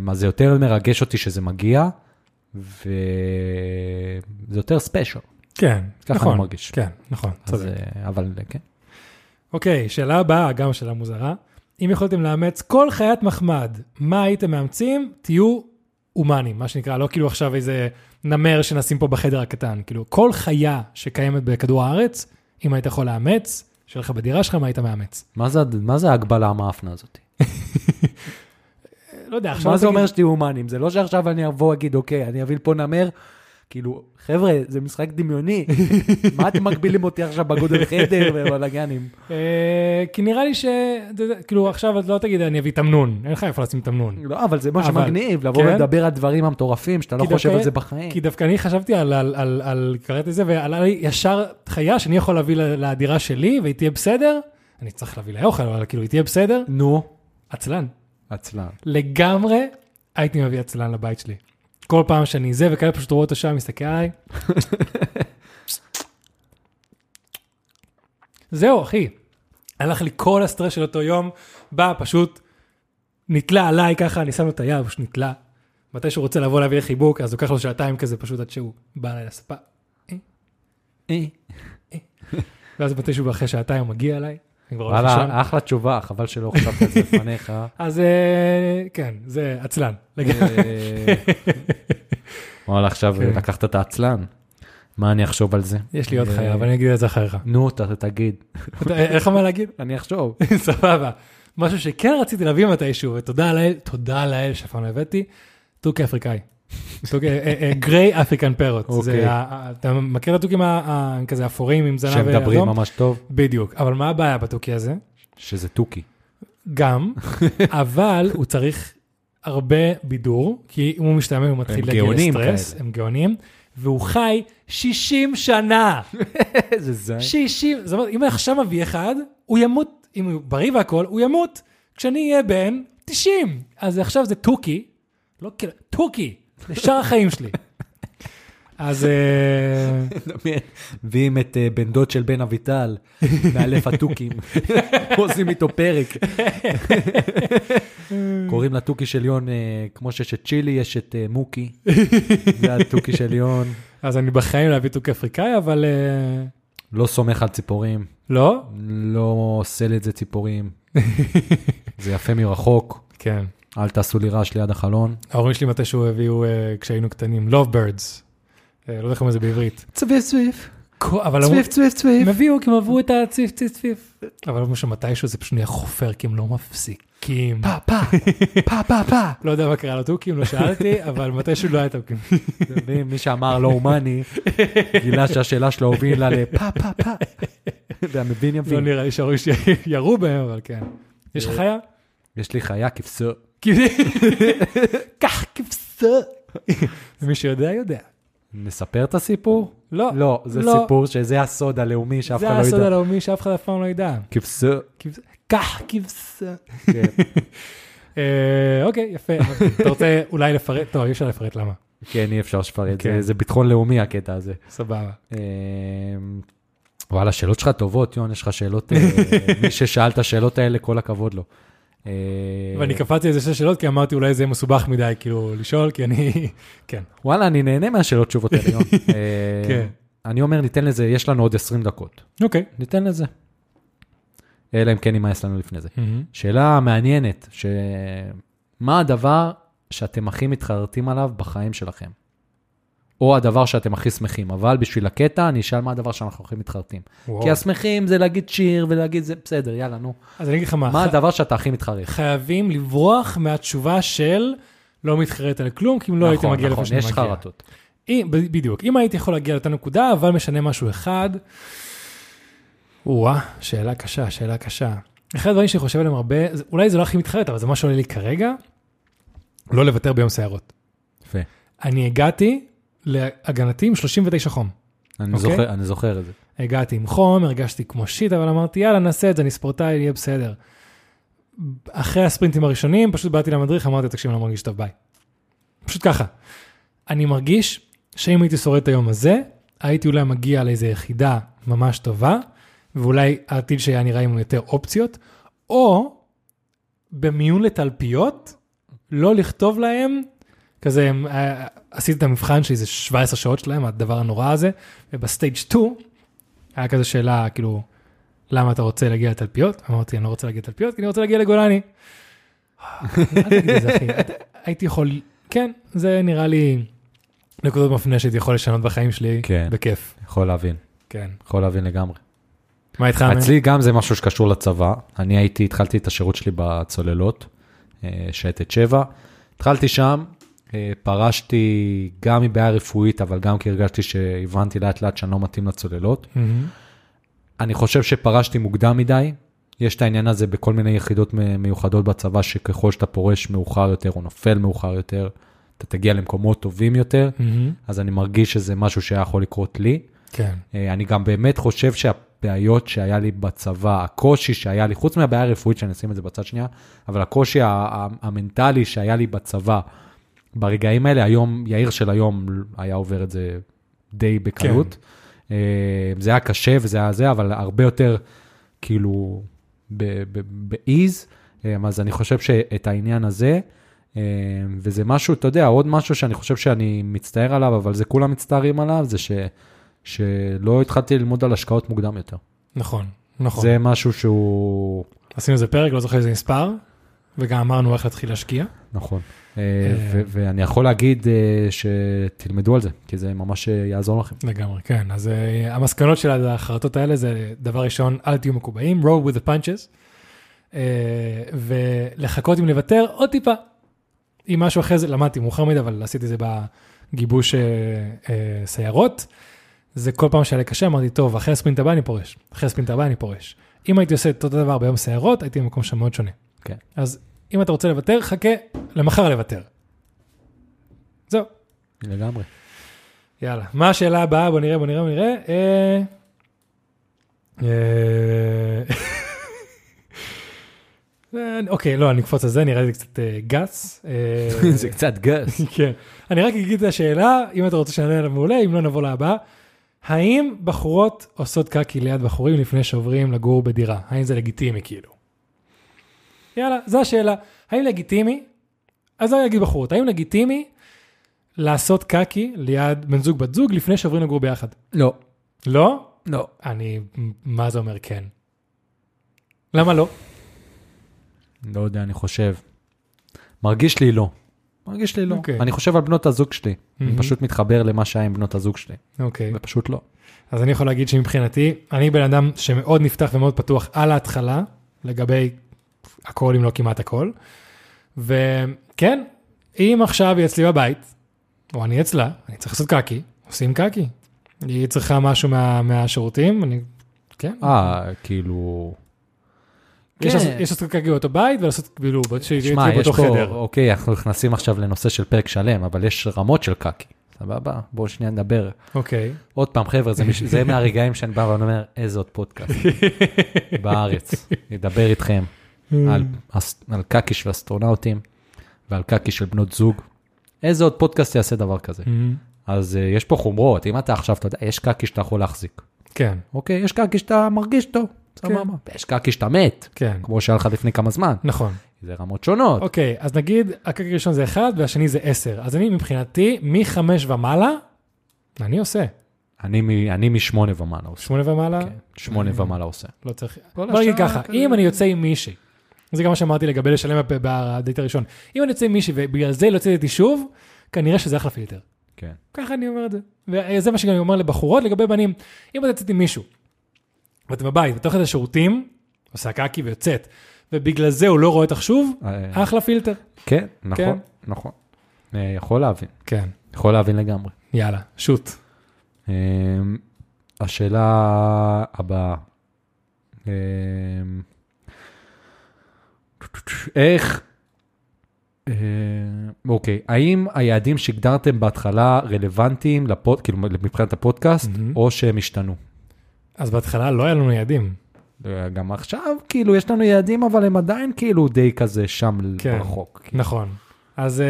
B: אמ, אז זה יותר מרגש אותי שזה מגיע, וזה יותר ספיישל.
A: כן,
B: ככה
A: נכון.
B: אני מרגיש.
A: כן, נכון,
B: אז,
A: צודק.
B: אה, אבל אה, כן.
A: אוקיי, שאלה הבאה, גם שאלה מוזרה. אם יכולתם לאמץ כל חיית מחמד, מה הייתם מאמצים? תהיו הומנים, מה שנקרא, לא כאילו עכשיו איזה נמר שנשים פה בחדר הקטן. כאילו, כל חיה שקיימת בכדור הארץ, אם היית יכול לאמץ, שיהיה לך בדירה שלך, מה היית מאמץ?
B: מה זה- מה זה ההגבלה המאפנה הזאת?
A: לא יודע, עכשיו...
B: מה זה
A: תגיד-
B: אומר שתהיו הומנים? זה לא שעכשיו אני אבוא אגיד, אוקיי, אני אביא לפה נמר. כאילו, חבר'ה, זה משחק דמיוני. מה אתם מגבילים אותי עכשיו בגודל חדר ובלאגנים?
A: אה, כי נראה לי ש... אתה יודע, כאילו, עכשיו את לא תגיד, אני אביא תמנון. אין לך איפה לשים תמנון.
B: לא, אבל זה מה
A: אבל-
B: שמגניב, לבוא
A: כן.
B: ולדבר על דברים המטורפים, שאתה לא
A: כי
B: חושב
A: דווקא-
B: על זה בחיים.
A: כי דווקא אני חשבתי על, על, על, על קראתי את זה, ועלה לי ישר חיה שאני יכול להביא ל- לדירה שלי, והיא תהיה בסדר. אני צריך להביא לה אוכל, אבל כאילו, היא תהיה בסדר.
B: נו,
A: עצלן.
B: עצלן.
A: לגמרי הייתי מביא עצלן לבית שלי. כל פעם שאני זה, וכאלה פשוט רואה אותו שם, מסתכל עליי. זהו, אחי. הלך לי כל הסטרס של אותו יום, בא, פשוט נתלה עליי ככה, אני שם לו את היד, פשוט נתלה. מתי שהוא רוצה לבוא להביא לי חיבוק, אז לוקח לו שעתיים כזה, פשוט עד שהוא בא אליי לספה.
B: אה.
A: ואז מתי שהוא אחרי שעתיים הוא מגיע אליי, אני כבר הולך לישון.
B: וואלה, אחלה תשובה, חבל שלא חשבת על זה לפניך.
A: אז אה, כן, זה עצלן. לגמרי.
B: אה, וואלה, עכשיו
A: כן.
B: לקחת את העצלן. מה אני אחשוב על זה?
A: יש לי עוד
B: אה,
A: חיה, אבל אני אגיד את זה אחריך.
B: נו, ת- תגיד.
A: אתה- אין לך מה להגיד?
B: אני אחשוב.
A: סבבה. משהו שכן רציתי להביא מתישהו, ותודה לאל, תודה לאל שאף פעם לא הבאתי, תוכי אפריקאי. אה, גריי אפריקן פרות.
B: אוקיי.
A: אתה מכיר את התוכים ה- ה- כזה אפורים עם זנב אה,
B: שמדברים ממש טוב,
A: בדיוק. אבל מה הבעיה בתוכי הזה?
B: שזה תוכי. גם.
A: גם, אבל הוא צריך הרבה בידור, כי אם הוא משתעמם הוא מתחיל
B: הם
A: להגיע
B: גאונים
A: לסטרס,
B: כאלה.
A: הם גאונים, והוא חי 60 שנה.
B: איזה
A: אוקיי.
B: זין.
A: 60, זאת אומרת, אם עכשיו אביא אחד, הוא ימות, אם הוא בריא והכול, הוא ימות כשאני אהיה בן 90. אז עכשיו זה תוכי, לא כאילו, תוכי, לשאר החיים שלי. אז אה,
B: דמיין. ואם את אה, בן דוד של בן אביטל, מאלף התוכים, עושים איתו פרק. קוראים לתוכי של יון, אה, כמו שיש את צ'ילי, יש את אה, מוקי. זה התוכי של יון.
A: אז אני בחיים לא אביא תוכי אפריקאי, אבל אה,
B: לא סומך על ציפורים,
A: לא?
B: לא עושה לי את זה ציפורים. זה יפה מרחוק,
A: כן.
B: אל תעשו לי רעש ליד החלון.
A: ההורים שלי מתישהו הביאו אה, כשהיינו קטנים, Love Birds. אה, לא יודע איך אומרים את זה בעברית.
B: צביף צביף,
A: כל- אבל אמרו-
B: צביף
A: הם
B: צביף.
A: הביאו כי הם עברו את הציף ציף ציף. אבל אמרו שמתישהו זה פשוט נהיה חופר, כי הם לא מפסיקים.
B: פה פה, פה פה פה.
A: לא יודע מה קרה לתוכים, לא שאלתי, אבל מתישהו לא היה תוכים.
B: אתם יודעים, מי שאמר לא הומני, גילה שהשאלה שלו הובילה לפה פה פה. והמבין
A: לא
B: יבין.
A: נראה לי שההורים שלי ירו בהם, אבל כן. יש לך חיה? כאילו-
B: יש לי חיה כבשה.
A: קח כבשה. מי שיודע, יודע.
B: נספר את הסיפור?
A: לא,
B: לא, זה
A: לא.
B: סיפור שזה הסוד הלאומי שאף
A: זה
B: אחד לא
A: הסוד
B: ידע.
A: הלאומי שאף אחד אף פעם לא ידע.
B: כבשה.
A: כבשה- קח כבשה.
B: כן.
A: אה, אוקיי, יפה. אתה רוצה אולי לפרט? לא, אי אפשר לפרט למה.
B: כן, אי אפשר לפרט,
A: כן.
B: זה- זה ביטחון לאומי הקטע הזה.
A: סבבה.
B: אמ, וואלה, שאלות שלך טובות, יון, יש לך שאלות, אה, מי ששאל את השאלות האלה, כל הכבוד לו. אה,
A: ואני קפצתי על זה שתי שאלות, כי אמרתי אולי זה יהיה מסובך מדי, כאילו, לשאול, כי אני... כן.
B: וואלה, אני נהנה מהשאלות תשובות האלה, יון. אה,
A: כן.
B: אני אומר, ניתן לזה, יש לנו עוד 20 דקות.
A: אוקיי.
B: ניתן לזה. אלא אם כן יימאס לנו לפני זה. שאלה מעניינת, ש... מה הדבר שאתם הכי מתחרטים עליו בחיים שלכם? או הדבר שאתם הכי שמחים, אבל בשביל הקטע אני אשאל מה הדבר שאנחנו הכי מתחרטים.
A: וואו.
B: כי השמחים זה להגיד שיר ולהגיד זה בסדר, יאללה, נו.
A: אז אני אגיד לך מה.
B: מה
A: ח-
B: הדבר שאתה הכי מתחרט?
A: חייבים לברוח מהתשובה של לא מתחרט על כלום, כי אם לא הייתי
B: נכון,
A: מגיע לאיפה
B: נכון,
A: שאני
B: יש
A: מגיע.
B: חרטות.
A: אם- ב- בדיוק. אם הייתי יכול להגיע לאותה נקודה, אבל משנה משהו אחד. וואה, שאלה קשה, שאלה קשה. אחד הדברים שאני חושב עליהם הרבה, זה- אולי זה לא הכי מתחרט, אבל זה מה שעולה לי כרגע, לא לוותר ביום סערות.
B: יפה.
A: אני הגעתי להגנתי עם 39 חום.
B: אני
A: אוקיי.
B: זוכר- אני זוכר את זה.
A: הגעתי עם חום, הרגשתי כמו שיט, אבל אמרתי, יאללה, נעשה את זה, אני ספורטאי, יהיה בסדר. אחרי הספרינטים הראשונים, פשוט באתי למדריך, אמרתי, תקשיב, אני לא מרגיש טוב, ביי. פשוט ככה. אני מרגיש שאם הייתי שורד את היום הזה, הייתי אולי מגיע לאיזו יחידה ממש טובה, ואולי העתיד שהיה נראה עם יותר אופציות, או במיון לתלפיות, לא לכתוב להם, כזה, הם, אה, עשיתי את המבחן שלי, זה 17 שעות שלהם, הדבר הנורא הזה, ובסטייג' 2, היה כזה שאלה, כאילו, למה אתה רוצה להגיע לתלפיות? אמרתי, אני לא רוצה להגיע לתלפיות, כי אני רוצה להגיע לגולני. אל תגיד את זה, אחי. הייתי יכול, כן, זה נראה לי נקודות מפנה שהייתי יכול לשנות בחיים שלי,
B: כן.
A: בכיף.
B: יכול להבין,
A: כן.
B: יכול להבין לגמרי.
A: מה איתך? אמן?
B: אצלי גם זה משהו שקשור לצבא. אני הייתי, התחלתי את השירות שלי בצוללות, אה, שייטת 7. התחלתי שם, אה, פרשתי גם מבעיה רפואית, אבל גם כי הרגשתי שהבנתי לאט לאט שאני לא מתאים לצוללות.
A: מהמם.
B: אני חושב שפרשתי מוקדם מדי. יש את העניין הזה בכל מיני יחידות מ- מיוחדות בצבא, שככל שאתה פורש מאוחר יותר או נופל מאוחר יותר, אתה תגיע למקומות טובים יותר.
A: מהמם.
B: אז אני מרגיש שזה משהו שהיה יכול לקרות לי.
A: כן.
B: אה, אני גם באמת חושב שהבעיות שהיה לי בצבא, הקושי שהיה לי, חוץ מהבעיה הרפואית, שאני אשים את זה בצד שנייה, אבל הקושי ה- ה- המנטלי שהיה לי בצבא, ברגעים האלה, היום, יאיר של היום היה עובר את זה די בקלות. כן. זה היה קשה וזה היה זה, אבל הרבה יותר, כאילו, ב- ב- באיז. אה, אז אני חושב שאת העניין הזה, אה, וזה משהו, אתה יודע, עוד משהו שאני חושב שאני מצטער עליו, אבל זה כולם מצטערים עליו, זה ש, שלא התחלתי ללמוד על השקעות מוקדם יותר.
A: נכון, נכון.
B: זה משהו שהוא...
A: עשינו איזה פרק, לא זוכר איזה מספר, וגם אמרנו איך להתחיל להשקיע.
B: נכון. אה, ו- ואני יכול להגיד אה, שתלמדו על זה, כי זה ממש אה, יעזור לכם.
A: לגמרי, כן. אז uh, המסקנות של החרטות האלה זה, דבר ראשון, אל תהיו מקובעים, roll with the punches, uh, ולחכות אם לוותר עוד טיפה. אם משהו אחרי זה, למדתי מאוחר מדי, אבל עשיתי זה בגיבוש uh, uh, סיירות. זה כל פעם שהיה לי קשה, אמרתי, טוב, אחרי הספרינט הבא אני פורש, אחרי הספרינט הבא אני פורש. אם הייתי עושה את אותו דבר ביום סיירות, הייתי במקום שם מאוד שונה.
B: כן.
A: אז אם אתה רוצה לוותר, חכה למחר לוותר. זהו.
B: לגמרי.
A: יאללה, מה השאלה הבאה? בוא נראה, בוא נראה, בוא נראה. אה... אה, אה, אוקיי, לא, אני אקפוץ על זה, נראה לי קצת אה, גס. אה,
B: זה קצת גס.
A: כן. אני רק אגיד את השאלה, אם אתה רוצה שנענה עליה מעולה, אם לא נבוא להבאה. האם בחורות עושות קקי ליד בחורים לפני שעוברים לגור בדירה? האם זה לגיטימי כאילו? יאללה, זו השאלה. האם לגיטימי? אז אני אגיד בחורות, האם לגיטימי לעשות קקי ליד בן זוג בת זוג לפני שעוברים לגור ביחד?
B: לא,
A: לא?
B: לא.
A: אני, מה זה אומר כן? למה לא?
B: לא יודע, אני חושב. מרגיש לי לא. מרגיש לי לא. Mm-hmm.
A: אוקיי.
B: אני חושב על בנות הזוג שלי. אני
A: מהמם.
B: פשוט מתחבר למה שהיה עם בנות הזוג שלי.
A: אוקיי.
B: ופשוט לא.
A: אז אני יכול להגיד שמבחינתי, אני בן אדם שמאוד נפתח ומאוד פתוח על ההתחלה, לגבי הכל אם לא כמעט הכל. וכן, אם עכשיו היא אצלי בבית, או אני אצלה, אני צריך לעשות קקי, עושים קקי. היא צריכה משהו מה, מהשירותים, אני, כן.
B: אה, כאילו...
A: יש
B: כן.
A: לעשות- יש לעשות קקי באותו בית ולעשות כאילו, שהיא
B: שמע,
A: תהיה
B: יש
A: באותו
B: פה,
A: חדר.
B: אוקיי, אנחנו נכנסים עכשיו לנושא של פרק שלם, אבל יש רמות של קקי. סבבה? בואו שנייה נדבר.
A: אוקיי.
B: עוד פעם, חבר'ה, זה, מש... זה מהרגעים שאני בא ואני אומר, איזה עוד פודקאסט בארץ. נדבר איתכם על, אס- על קקי של אסטרונאוטים ועל קקי של בנות זוג. איזה עוד פודקאסט יעשה דבר כזה?
A: אמ,
B: אז אה, יש פה חומרות, אם אתה עכשיו, אתה יודע, יש קקי שאתה יכול להחזיק.
A: כן,
B: אוקיי, יש קקי שאתה מרגיש טוב, סבבה. ויש קקי שאתה מת,
A: כן,
B: כמו שהיה לך לפני כמה זמן.
A: נכון.
B: זה רמות שונות.
A: אוקיי, אז נגיד הקק הראשון זה 1 והשני זה 10. אז אני מבחינתי, מ-5 ומעלה, אני עושה.
B: אני מ- אני משמונה ומעלה עושה.
A: 8 ומעלה,
B: כן, שמונה ומעלה עושה.
A: לא צריך.
B: כל
A: בוא נגיד
B: השאר
A: ככה,
B: כזה-
A: אם אני יוצא עם מישהי, זה גם מה שאמרתי לגבי לשלם בפ- בדייט הראשון, אם אני יוצא עם מישהי ובגלל זה היא לא יוצאת איתי שוב, כנראה שזה אחלה פילטר.
B: כן.
A: ככה אני אומר את זה. וזה מה שאני אומר לבחורות לגבי בנים. אם את יוצאת עם מישהו, ואת בבית, ואת הולכת לשירותים, עושה קקי ויוצאת, ובגלל זה הוא לא רואה אותך שוב,
B: אה,
A: אחלה פילטר.
B: כן, נכון, נכון. אה, יכול להבין,
A: כן,
B: יכול להבין לגמרי.
A: יאללה, שוט.
B: אמ, השאלה הבאה, אמ, איך אה, אוקיי, האם היעדים שהגדרתם בהתחלה רלוונטיים לפוד, כאילו מבחינת הפודקאסט,
A: מהמם.
B: או שהם השתנו?
A: אז בהתחלה לא היה לנו יעדים.
B: אה, גם עכשיו, כאילו, יש לנו יעדים, אבל הם עדיין כאילו די כזה שם
A: כן.
B: רחוק.
A: נכון. אז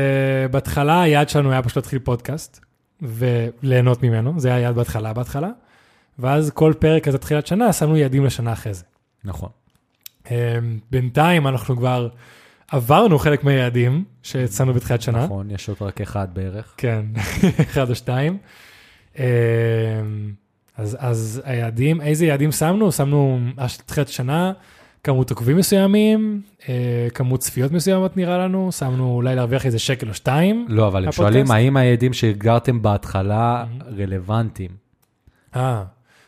A: uh, בהתחלה היעד שלנו היה פשוט להתחיל פודקאסט וליהנות ממנו, זה היה היעד בהתחלה בהתחלה. ואז כל פרק כזה תחילת שנה שמנו יעדים לשנה אחרי זה.
B: נכון.
A: Um, בינתיים אנחנו כבר עברנו חלק מהיעדים שהצענו בתחילת שנה.
B: נכון, יש עוד רק אחד בערך.
A: כן, אחד או שתיים. אמ, אז, אז היעדים, איזה יעדים שמנו? שמנו הש- תחילת שנה, כמות עוקבים מסוימים, אה, כמות צפיות מסוימות נראה לנו, שמנו אולי להרוויח איזה שקל או שתיים.
B: לא, אבל הם
A: הפודקאסט?
B: שואלים, האם היעדים שהגדרתם בהתחלה רלוונטיים?
A: אה,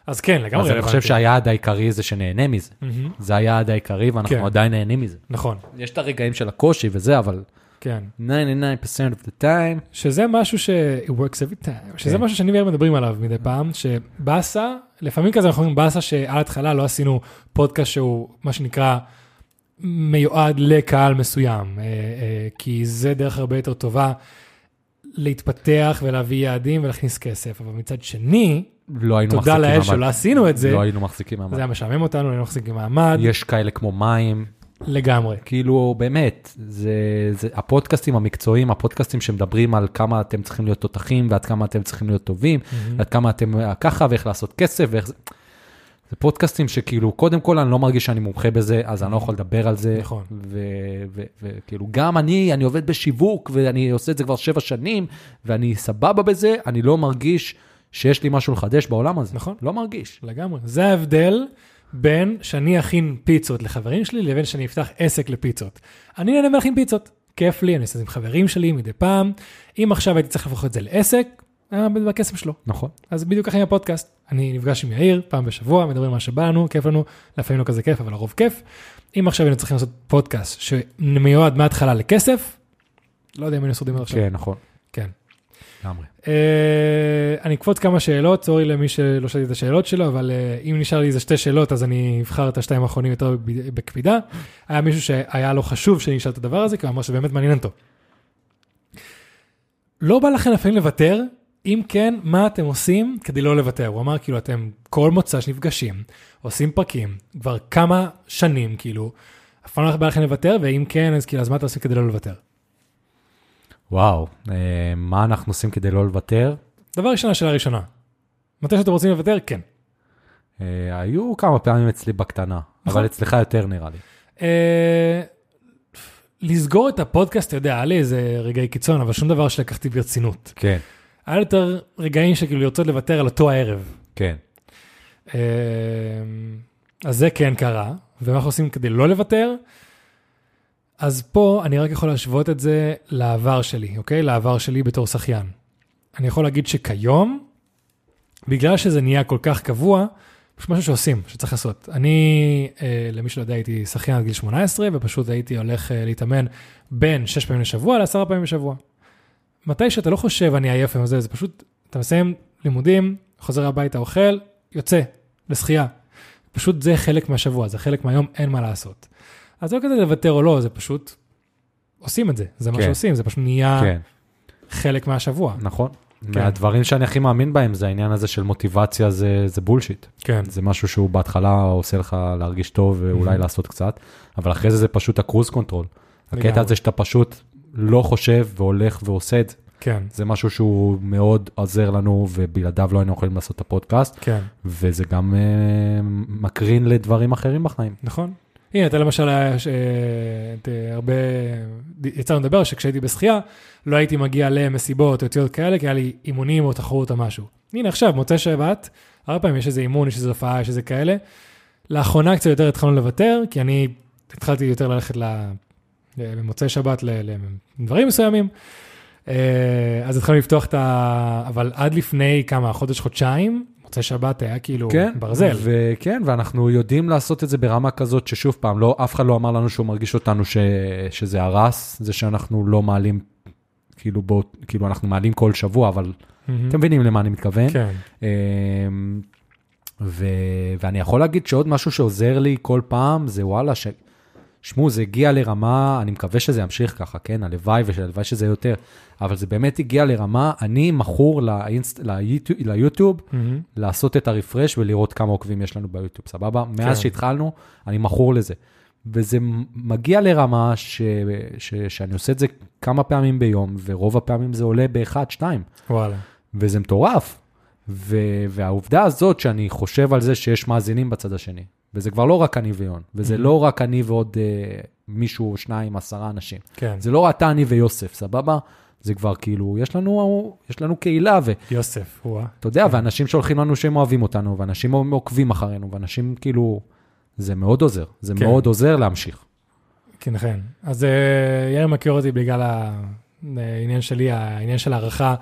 A: אז כן, לגמרי
B: אז אני חושב שהיעד העיקרי זה שנהנה מזה.
A: מהמם,
B: זה היעד העיקרי,
A: כן.
B: ואנחנו עדיין נהנים מזה.
A: נכון,
B: יש את הרגעים של הקושי וזה, אבל
A: כן.
B: 99% of the time,
A: שזה משהו ש... It works every time. שזה
B: כן. Mm.
A: משהו שאני ואיר מדברים עליו מדי פעם, שבאסה, לפעמים כזה אנחנו אומרים באסה שעל ההתחלה לא עשינו פודקאסט שהוא מה שנקרא מיועד לקהל מסוים, אה, אה, כי זה דרך הרבה יותר טובה להתפתח ולהביא יעדים ולהכניס כסף. אבל מצד שני,
B: לא היינו מחזיקים
A: תודה
B: מעמד.
A: לאל שלא עשינו את זה,
B: לא היינו מחזיקים מעמד.
A: זה היה משעמם אותנו, היינו מחזיקים מעמד
B: יש כאלה כמו מים,
A: לגמרי.
B: כאילו באמת, זה, זה הפודקאסטים המקצועיים, הפודקאסטים שמדברים על כמה אתם צריכים להיות תותחים ועד כמה אתם צריכים להיות טובים, עד כמה אתם אה, ככה ואיך לעשות כסף ואיך זה. זה פודקאסטים שכאילו, קודם כל אני לא מרגיש שאני מומחה בזה, אז אני לא יכול לדבר על זה.
A: נכון.
B: וכאילו, כאילו, גם אני, אני עובד בשיווק ואני עושה את זה כבר שבע שנים, ואני סבבה בזה, אני לא מרגיש שיש לי משהו לחדש בעולם הזה.
A: נכון.
B: לא מרגיש.
A: לגמרי. זה ההבדל בין שאני אכין פיצות לחברים שלי לבין שאני אפתח עסק לפיצות. אני נהנה מלהכין פיצות, כיף לי, אני עושה את זה עם חברים שלי מדי פעם. אם עכשיו הייתי צריך להפוך את זה לעסק, היה מאבד בכסף שלו.
B: נכון.
A: אז בדיוק ככה עם הפודקאסט. אני נפגש עם יאיר פעם בשבוע, מדברים על מה שבא לנו, כיף לנו, לפעמים לא כזה כיף, אבל לרוב כיף. אם עכשיו היינו צריכים לעשות פודקאסט שמיועד מההתחלה לכסף, לא יודע אם היינו שורדים עד עכשיו.
B: כן, נכון.
A: כן.
B: לגמרי.
A: אה, אני אקפוץ כמה שאלות, סורי למי שלא שאלתי את השאלות שלו, אבל אה, אם נשאר לי איזה שתי שאלות, אז אני אבחר את השתיים האחרונים יותר ב- בקפידה. היה מישהו שהיה לו חשוב שאני אשאל את הדבר הזה, כי הוא אמר שבאמת מעניין אותו. לא בא לכם לפעמים לוותר? אם כן, מה אתם עושים כדי לא לוותר? הוא אמר, כאילו, אתם כל מוצא שנפגשים, עושים פרקים, כבר כמה שנים, כאילו, אף פעם לא בא לכם לוותר, ואם כן, אז כאילו, אז מה אתם עושים כדי לא לוותר?
B: וואו, אה, מה אנחנו עושים כדי לא לוותר?
A: דבר ראשון, השאלה הראשונה. מתי שאתם רוצים לוותר, כן.
B: אה, היו כמה פעמים אצלי בקטנה,
A: נכון.
B: אבל אצלך יותר נראה לי.
A: אה, לסגור את הפודקאסט, אתה יודע, היה לי איזה רגעי קיצון, אבל שום דבר שלקחתי ברצינות.
B: כן,
A: היה לי יותר רגעים שכאילו לרצות לוותר על אותו הערב.
B: כן.
A: אה, אז זה כן קרה, ומה אנחנו עושים כדי לא לוותר? אז פה אני רק יכול להשוות את זה לעבר שלי, אוקיי? לעבר שלי בתור שחיין. אני יכול להגיד שכיום, בגלל שזה נהיה כל כך קבוע, יש משהו שעושים, שצריך לעשות. אני, אה, למי שלא יודע, הייתי שחיין עד גיל 18, ופשוט הייתי הולך אה, להתאמן בין 6 פעמים לשבוע ל-10 פעמים בשבוע. מתי שאתה לא חושב אני עייף עם זה, זה פשוט, אתה מסיים לימודים, חוזר הביתה, אוכל, יוצא, לשחייה. פשוט זה חלק מהשבוע, זה חלק מהיום, אין מה לעשות. אז זה לא כזה לוותר או לא, זה פשוט, עושים את זה, זה מה
B: כן.
A: שעושים, זה פשוט נהיה
B: כן,
A: חלק מהשבוע.
B: נכון. מהדברים שאני הכי מאמין בהם זה העניין הזה של מוטיבציה זה, זה בולשיט.
A: כן,
B: זה משהו שהוא בהתחלה עושה לך להרגיש טוב ואולי
A: מהמם.
B: לעשות קצת, אבל אחרי זה זה פשוט הקרוז קונטרול.
A: לגמרי.
B: הקטע הזה שאתה פשוט לא חושב והולך ועושה את זה,
A: כן,
B: זה משהו שהוא מאוד עוזר לנו ובלעדיו לא היינו יכולים לעשות את הפודקאסט,
A: כן.
B: וזה גם אה, מקרין לדברים אחרים בחיים.
A: נכון. הנה, אתה למשל, היה ש- אה, את, אה, הרבה, יצא לנו לדבר שכשהייתי בשחייה, לא הייתי מגיע למסיבות או יציאות כאלה, כי היה לי אימונים או תחרות או משהו. הנה, עכשיו, מוצאי שבת, הרבה פעמים יש איזה אימון, יש איזו הופעה, יש איזה כאלה. לאחרונה קצת יותר התחלנו לוותר, כי אני התחלתי יותר ללכת ל- במוצאי שבת ל- לדברים מסוימים. אה, אז התחלנו לפתוח את ה... אבל עד לפני כמה, חודש, חודשיים, מוצאי שבת היה כאילו
B: כן?
A: ברזל.
B: וכן, ואנחנו יודעים לעשות את זה ברמה כזאת ששוב פעם, לא, אף אחד לא אמר לנו שהוא מרגיש אותנו ש, שזה הרס, זה שאנחנו לא מעלים, כאילו, בוא, כאילו אנחנו מעלים כל שבוע, אבל
A: מהמם.
B: אתם מבינים למה אני מתכוון.
A: כן.
B: אמ, ו, ואני יכול להגיד שעוד משהו שעוזר לי כל פעם, זה וואלה, ש, שמעו, זה הגיע לרמה, אני מקווה שזה ימשיך ככה, כן? הלוואי והלוואי שזה יותר, אבל זה באמת הגיע לרמה, אני מכור לאינסט, ליוטיוב, ליוטיוב
A: מהמם.
B: לעשות את הרפרש ולראות כמה עוקבים יש לנו ביוטיוב, סבבה? כן. מאז
A: כן.
B: שהתחלנו, אני מכור לזה. וזה מגיע לרמה ש... ש... שאני עושה את זה כמה פעמים ביום, ורוב הפעמים זה עולה באחד, שתיים.
A: וואלה.
B: וזה מטורף. ו... והעובדה הזאת שאני חושב על זה שיש מאזינים בצד השני, וזה כבר לא רק אני ויון, וזה לא רק אני ועוד אה, מישהו, שניים, עשרה אנשים.
A: כן,
B: זה לא אתה, אני ויוסף, סבבה? זה כבר כאילו, יש לנו, יש לנו קהילה, ו...
A: יוסף, וואה.
B: אתה יודע, ואנשים שולחים לנו שהם אוהבים אותנו, ואנשים עוקבים אחרינו, ואנשים כאילו... זה מאוד עוזר, זה
A: כן.
B: מאוד עוזר להמשיך.
A: כן, כן. אז אה, יאיר מכיר אותי בגלל העניין שלי, העניין של הערכה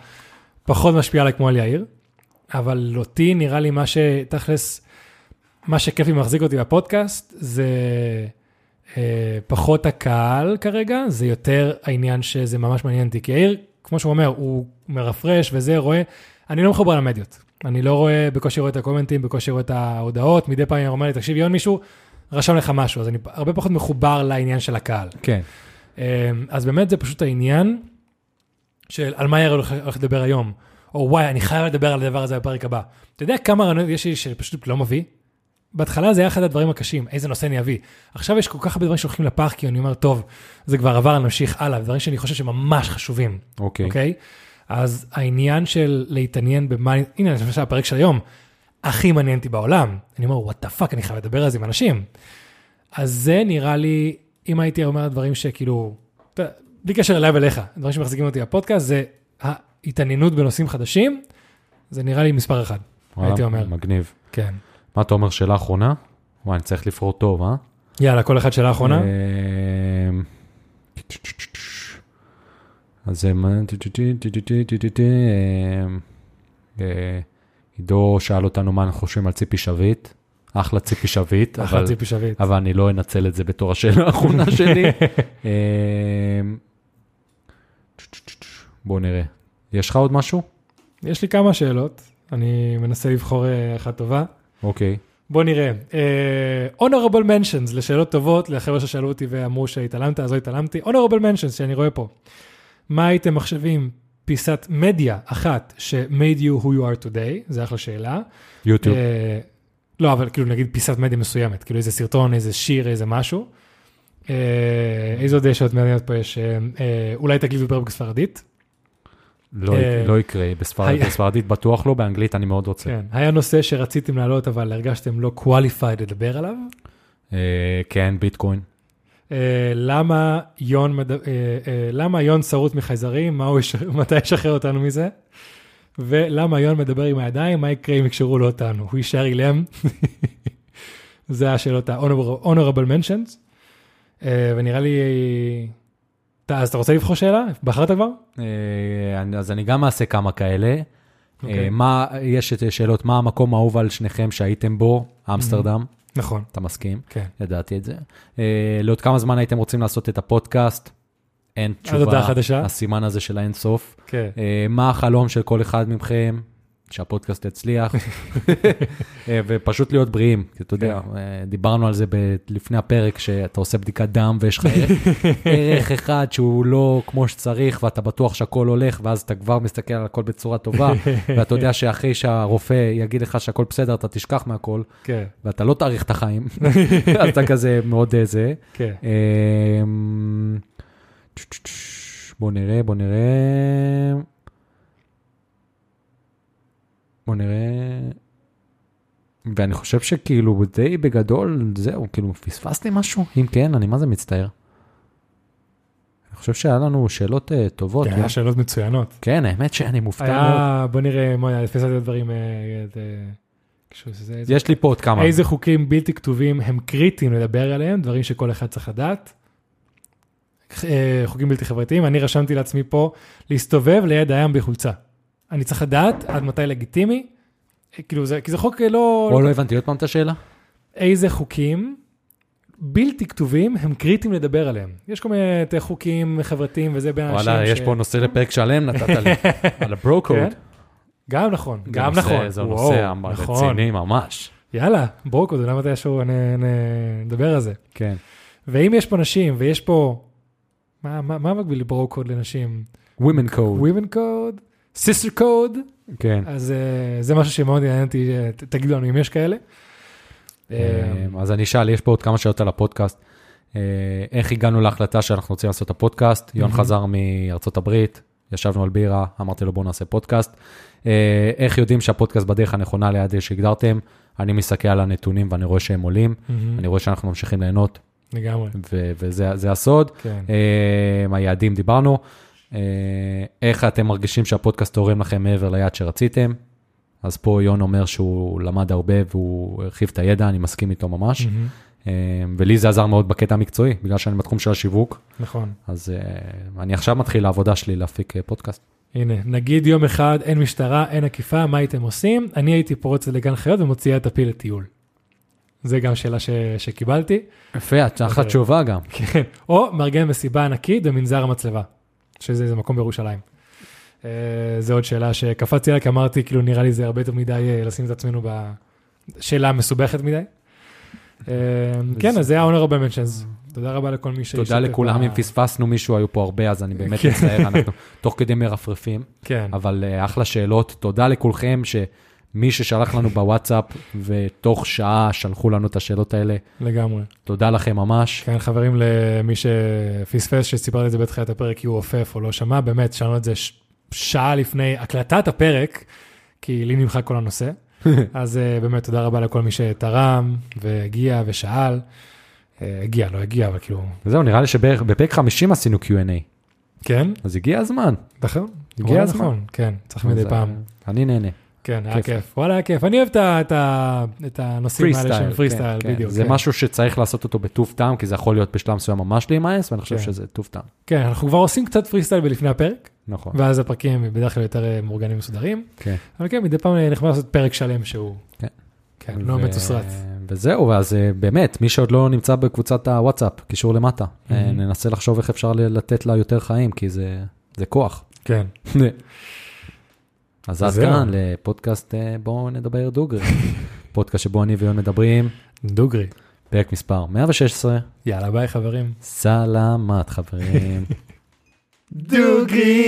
A: פחות משפיע עליי כמו על יאיר, אבל אותי נראה לי מה שתכלס, מה שכיפי מחזיק אותי בפודקאסט, זה אה, פחות הקהל כרגע, זה יותר העניין שזה ממש מעניין אותי, כי יאיר, כמו שהוא אומר, הוא מרפרש וזה, רואה, אני לא מחובר למדיות. אני לא רואה, בקושי רואה את הקומנטים, בקושי רואה את ההודעות, מדי פעם הוא אומר לי, תקשיב, יון מישהו, רשם לך משהו, אז אני הרבה פחות מחובר לעניין של הקהל.
B: כן.
A: אמ, אז באמת זה פשוט העניין של על מה יאיר הולך הולך לדבר היום, או וואי, אני חייב לדבר על הדבר הזה בפרק הבא. אתה יודע כמה רעיונות יש לי שפשוט לא מביא? בהתחלה זה היה אחד הדברים הקשים, איזה נושא אני אביא. עכשיו יש כל כך הרבה דברים שהולכים לפח, כי אני אומר, טוב, זה כבר עבר, נמשיך הלאה, דברים שאני חושב שממש חשובים.
B: אוקיי.
A: אוקיי? אז העניין של להתעניין במה, הנה, למשל הפרק של היום, הכי מעניין אותי בעולם. אני אומר, וואט דה פאק, אני חייב לדבר על זה עם אנשים. אז זה נראה לי, אם הייתי אומר דברים שכאילו, אתה- בלי קשר אליי ואליך, דברים שמחזיקים אותי בפודקאסט, זה ההתעניינות בנושאים חדשים, זה נראה לי מספר אחד,
B: וואלה,
A: הייתי אומר.
B: מגניב.
A: כן.
B: מה אתה אומר, שאלה אחרונה? וואי, אני צריך לבחור טוב, אה?
A: יאללה, כל אחד שאלה אחרונה.
B: אמ, אז זה... מה- אמ, אה, עידו שאל אותנו מה אנחנו חושבים על ציפי שביט. אחלה ציפי שביט,
A: אחלה
B: אבל
A: ציפי שביט.
B: אבל אני לא אנצל את זה בתור השאלה האחרונה שלי. אמ, בואו נראה. יש לך עוד משהו?
A: יש לי כמה שאלות, אני מנסה לבחור אה, אחת טובה.
B: אוקיי.
A: בוא נראה. Uh, honorable mentions לשאלות טובות לחבר'ה ששאלו אותי ואמרו שהתעלמת, אז לא התעלמתי. honorable mentions שאני רואה פה. מה הייתם מחשבים פיסת מדיה אחת ש-made you who you are today? זו אחלה שאלה.
B: יוטיוב.
A: אה, לא, אבל כאילו נגיד פיסת מדיה מסוימת, כאילו איזה סרטון, איזה שיר, איזה משהו. אה, איזה עוד שאלות מעניינות פה יש? אה, אה, אולי תקליטו פרק בספרדית?
B: לא
A: אה,
B: לא יקרה, בספרדית-
A: היה-
B: בספרדית בטוח לא, באנגלית אני מאוד רוצה.
A: כן. היה נושא שרציתם להעלות אבל הרגשתם לא qualified לדבר עליו?
B: אה, כן, ביטקוין.
A: אה, למה יון, מד... אה, אה, למה יון שרוט מחייזרים, מה הוא יש... מתי ישחרר אותנו מזה? ולמה יון מדבר עם הידיים, מה יקרה אם יקשרו לו אותנו? הוא יישאר אילם? זה השאלות ה-honorable mentions. אה, ונראה לי... אתה, אז אתה רוצה לבחור שאלה? בחרת כבר?
B: אה, אני- אז אני גם אעשה כמה כאלה.
A: אוקיי.
B: אה, מה, יש את שאלות, מה המקום האהוב על שניכם שהייתם בו? אמסטרדם,
A: נכון,
B: אתה מסכים?
A: כן.
B: ידעתי את זה. אה, לעוד כמה זמן הייתם רוצים לעשות את הפודקאסט? אין תשובה.
A: הודעה חדשה.
B: הסימן הזה של האין סוף.
A: כן.
B: אה, מה החלום של כל אחד מכם? שהפודקאסט יצליח, אה, ופשוט להיות בריאים, כי אתה יודע, אה, דיברנו על זה ב- לפני הפרק, שאתה עושה בדיקת דם ויש לך ערך אחד שהוא לא כמו שצריך, ואתה בטוח שהכל הולך, ואז אתה כבר מסתכל על הכל בצורה טובה, ואתה יודע שאחרי שהרופא יגיד לך שהכל בסדר, אתה תשכח מהכל,
A: כן,
B: ואתה לא תאריך את החיים, אז אתה כזה מאוד אה, זה.
A: כן.
B: אמ, בוא נראה, בוא נראה. בוא נראה. ואני חושב שכאילו די בגדול, זהו, כאילו פספסתי משהו? אם כן, אני מה זה מצטער. אני חושב שהיה לנו שאלות אה, טובות.
A: כן, היה שאלות מצוינות.
B: כן, האמת שאני מופתע מאוד.
A: היה, בוא נראה, מה היה, לפי זה הדברים, אה, אה, כשהוא- זה- זה-
B: יש לי פה עוד כמה.
A: איזה חוקים בלתי כתובים הם קריטיים לדבר עליהם, דברים שכל אחד צריך לדעת. אה, חוקים בלתי חברתיים, אני רשמתי לעצמי פה להסתובב ליד הים בחולצה. אני צריך לדעת עד מתי לגיטימי, אה, כאילו זה, כי זה חוק אה, לא...
B: או לא הבנתי עוד פעם את השאלה?
A: איזה חוקים בלתי כתובים הם קריטיים לדבר עליהם. יש כל מיני אה, חוקים חברתיים וזה בין אנשים
B: וואלה, יש פה נושא לפרק שלם נתת לי. על
A: כן.
B: הברוקוד.
A: גם נכון,
B: זה
A: גם
B: נושא-
A: נכון.
B: זה
A: וואו,
B: נושא
A: נכון.
B: רציני ממש.
A: יאללה, ברוקו, אתה יודע מתי ישור נדבר על זה.
B: כן.
A: ואם יש פה נשים, ויש פה... מה, מה, מה מקביל לברו קוד לנשים?
B: Women code.
A: Women code? Sister code?
B: כן.
A: אז אה, זה משהו שמאוד עניין אותי, אה, ת- תגידו לנו אם יש כאלה. אה,
B: אמ, אז אני אשאל, יש פה עוד כמה שאלות על הפודקאסט. אה, איך הגענו להחלטה שאנחנו רוצים לעשות את הפודקאסט? יון
A: מהמם.
B: חזר מארצות הברית, ישבנו על בירה, אמרתי לו בואו נעשה פודקאסט. אה, איך יודעים שהפודקאסט בדרך הנכונה ליעד שהגדרתם? אני מסתכל על הנתונים ואני רואה שהם עולים,
A: מהמם.
B: אני רואה שאנחנו ממשיכים ליהנות,
A: לגמרי,
B: ו- וזה זה הסוד.
A: כן.
B: אה, היעדים דיברנו, אה, איך אתם מרגישים שהפודקאסט תורם לכם מעבר ליעד שרציתם. אז פה יון אומר שהוא למד הרבה והוא הרחיב את הידע, אני מסכים איתו ממש.
A: מהמם.
B: אה, ולי זה עזר מאוד בקטע המקצועי, בגלל שאני בתחום של השיווק,
A: נכון.
B: אז אה, אני עכשיו מתחיל לעבודה שלי להפיק אה, פודקאסט.
A: הנה, נגיד יום אחד אין משטרה, אין אכיפה, מה הייתם עושים? אני הייתי פורצת לגן חיות ומוציאה את הפיל לטיול. זה גם שאלה ש... שקיבלתי.
B: יפה, את אחת
A: אוקיי.
B: תשובה גם.
A: כן. או מארגן מסיבה ענקית במנזר המצלבה, שזה איזה מקום בירושלים. אה, זו עוד שאלה שקפצתי עליה, כי אמרתי, כאילו, נראה לי זה הרבה יותר מדי אה, לשים את עצמנו בשאלה מסובכת מדי. אה, כן, אז זה היה honorable mentions. תודה רבה לכל מי שהשתתף.
B: אה. תודה לכולם,
A: ב-
B: אם פספסנו מישהו, היו פה הרבה, אז אני באמת מצטער, אנחנו תוך כדי מרפרפים.
A: כן,
B: אבל אה, אחלה שאלות. תודה לכולכם שמי ששלח לנו בוואטסאפ, ותוך שעה שלחו לנו את השאלות האלה.
A: לגמרי.
B: תודה לכם ממש.
A: כן, חברים, למי שפספס, שסיפרתי את זה בתחילת הפרק, כי הוא עופף או לא שמע, באמת, שמענו את זה ש... שעה לפני הקלטת הפרק, כי לי נמחק כל הנושא. אז אה, באמת, תודה רבה לכל מי שתרם, והגיע ושאל. אה, הגיע, לא הגיע, אבל כאילו...
B: זהו, נראה לי שבערך בפרק 50 עשינו Q&A,
A: כן,
B: אז הגיע הזמן.
A: נכון.
B: וואלה,
A: הגיע הזמן. כן, צריך מדי
B: אז,
A: פעם.
B: אה, אני נהנה.
A: כן, היה
B: כיף.
A: כיף. וואלה, היה כיף. אני אוהב את ה- את ה- את הנושאים האלה של פרי סטייל,
B: כן, כן.
A: בדיוק.
B: זה
A: כן.
B: משהו שצריך לעשות אותו בטוב טעם, כי זה יכול להיות בשלב מסוים ממש להימאס, ואני חושב
A: כן.
B: שזה טוב טעם.
A: כן, אנחנו כבר עושים קצת פרי סטייל בלפני הפרק,
B: נכון.
A: ואז הפרקים הם בדרך כלל יותר אה, מאורגנים ומסודרים.
B: כן.
A: אבל כן, מדי פעם נחמד לעשות פרק שלם שהוא...
B: כן.
A: כן, לא
B: ו-
A: מתוסרט.
B: וזהו, ואז אה, באמת, מי שעוד לא נמצא בקבוצת הוואטסאפ, קישור למטה, אה, ננסה לחשוב איך אפשר ל- לתת לה יותר חיים, כי זה זה כוח.
A: כן.
B: אז עד
A: זהו.
B: כאן לפודקאסט אה, בואו נדבר דוגרי. פודקאסט שבו אני ויון מדברים,
A: דוגרי.
B: פרק מספר 116,
A: יאללה, ביי חברים.
B: סלמת חברים.
A: דוגרי!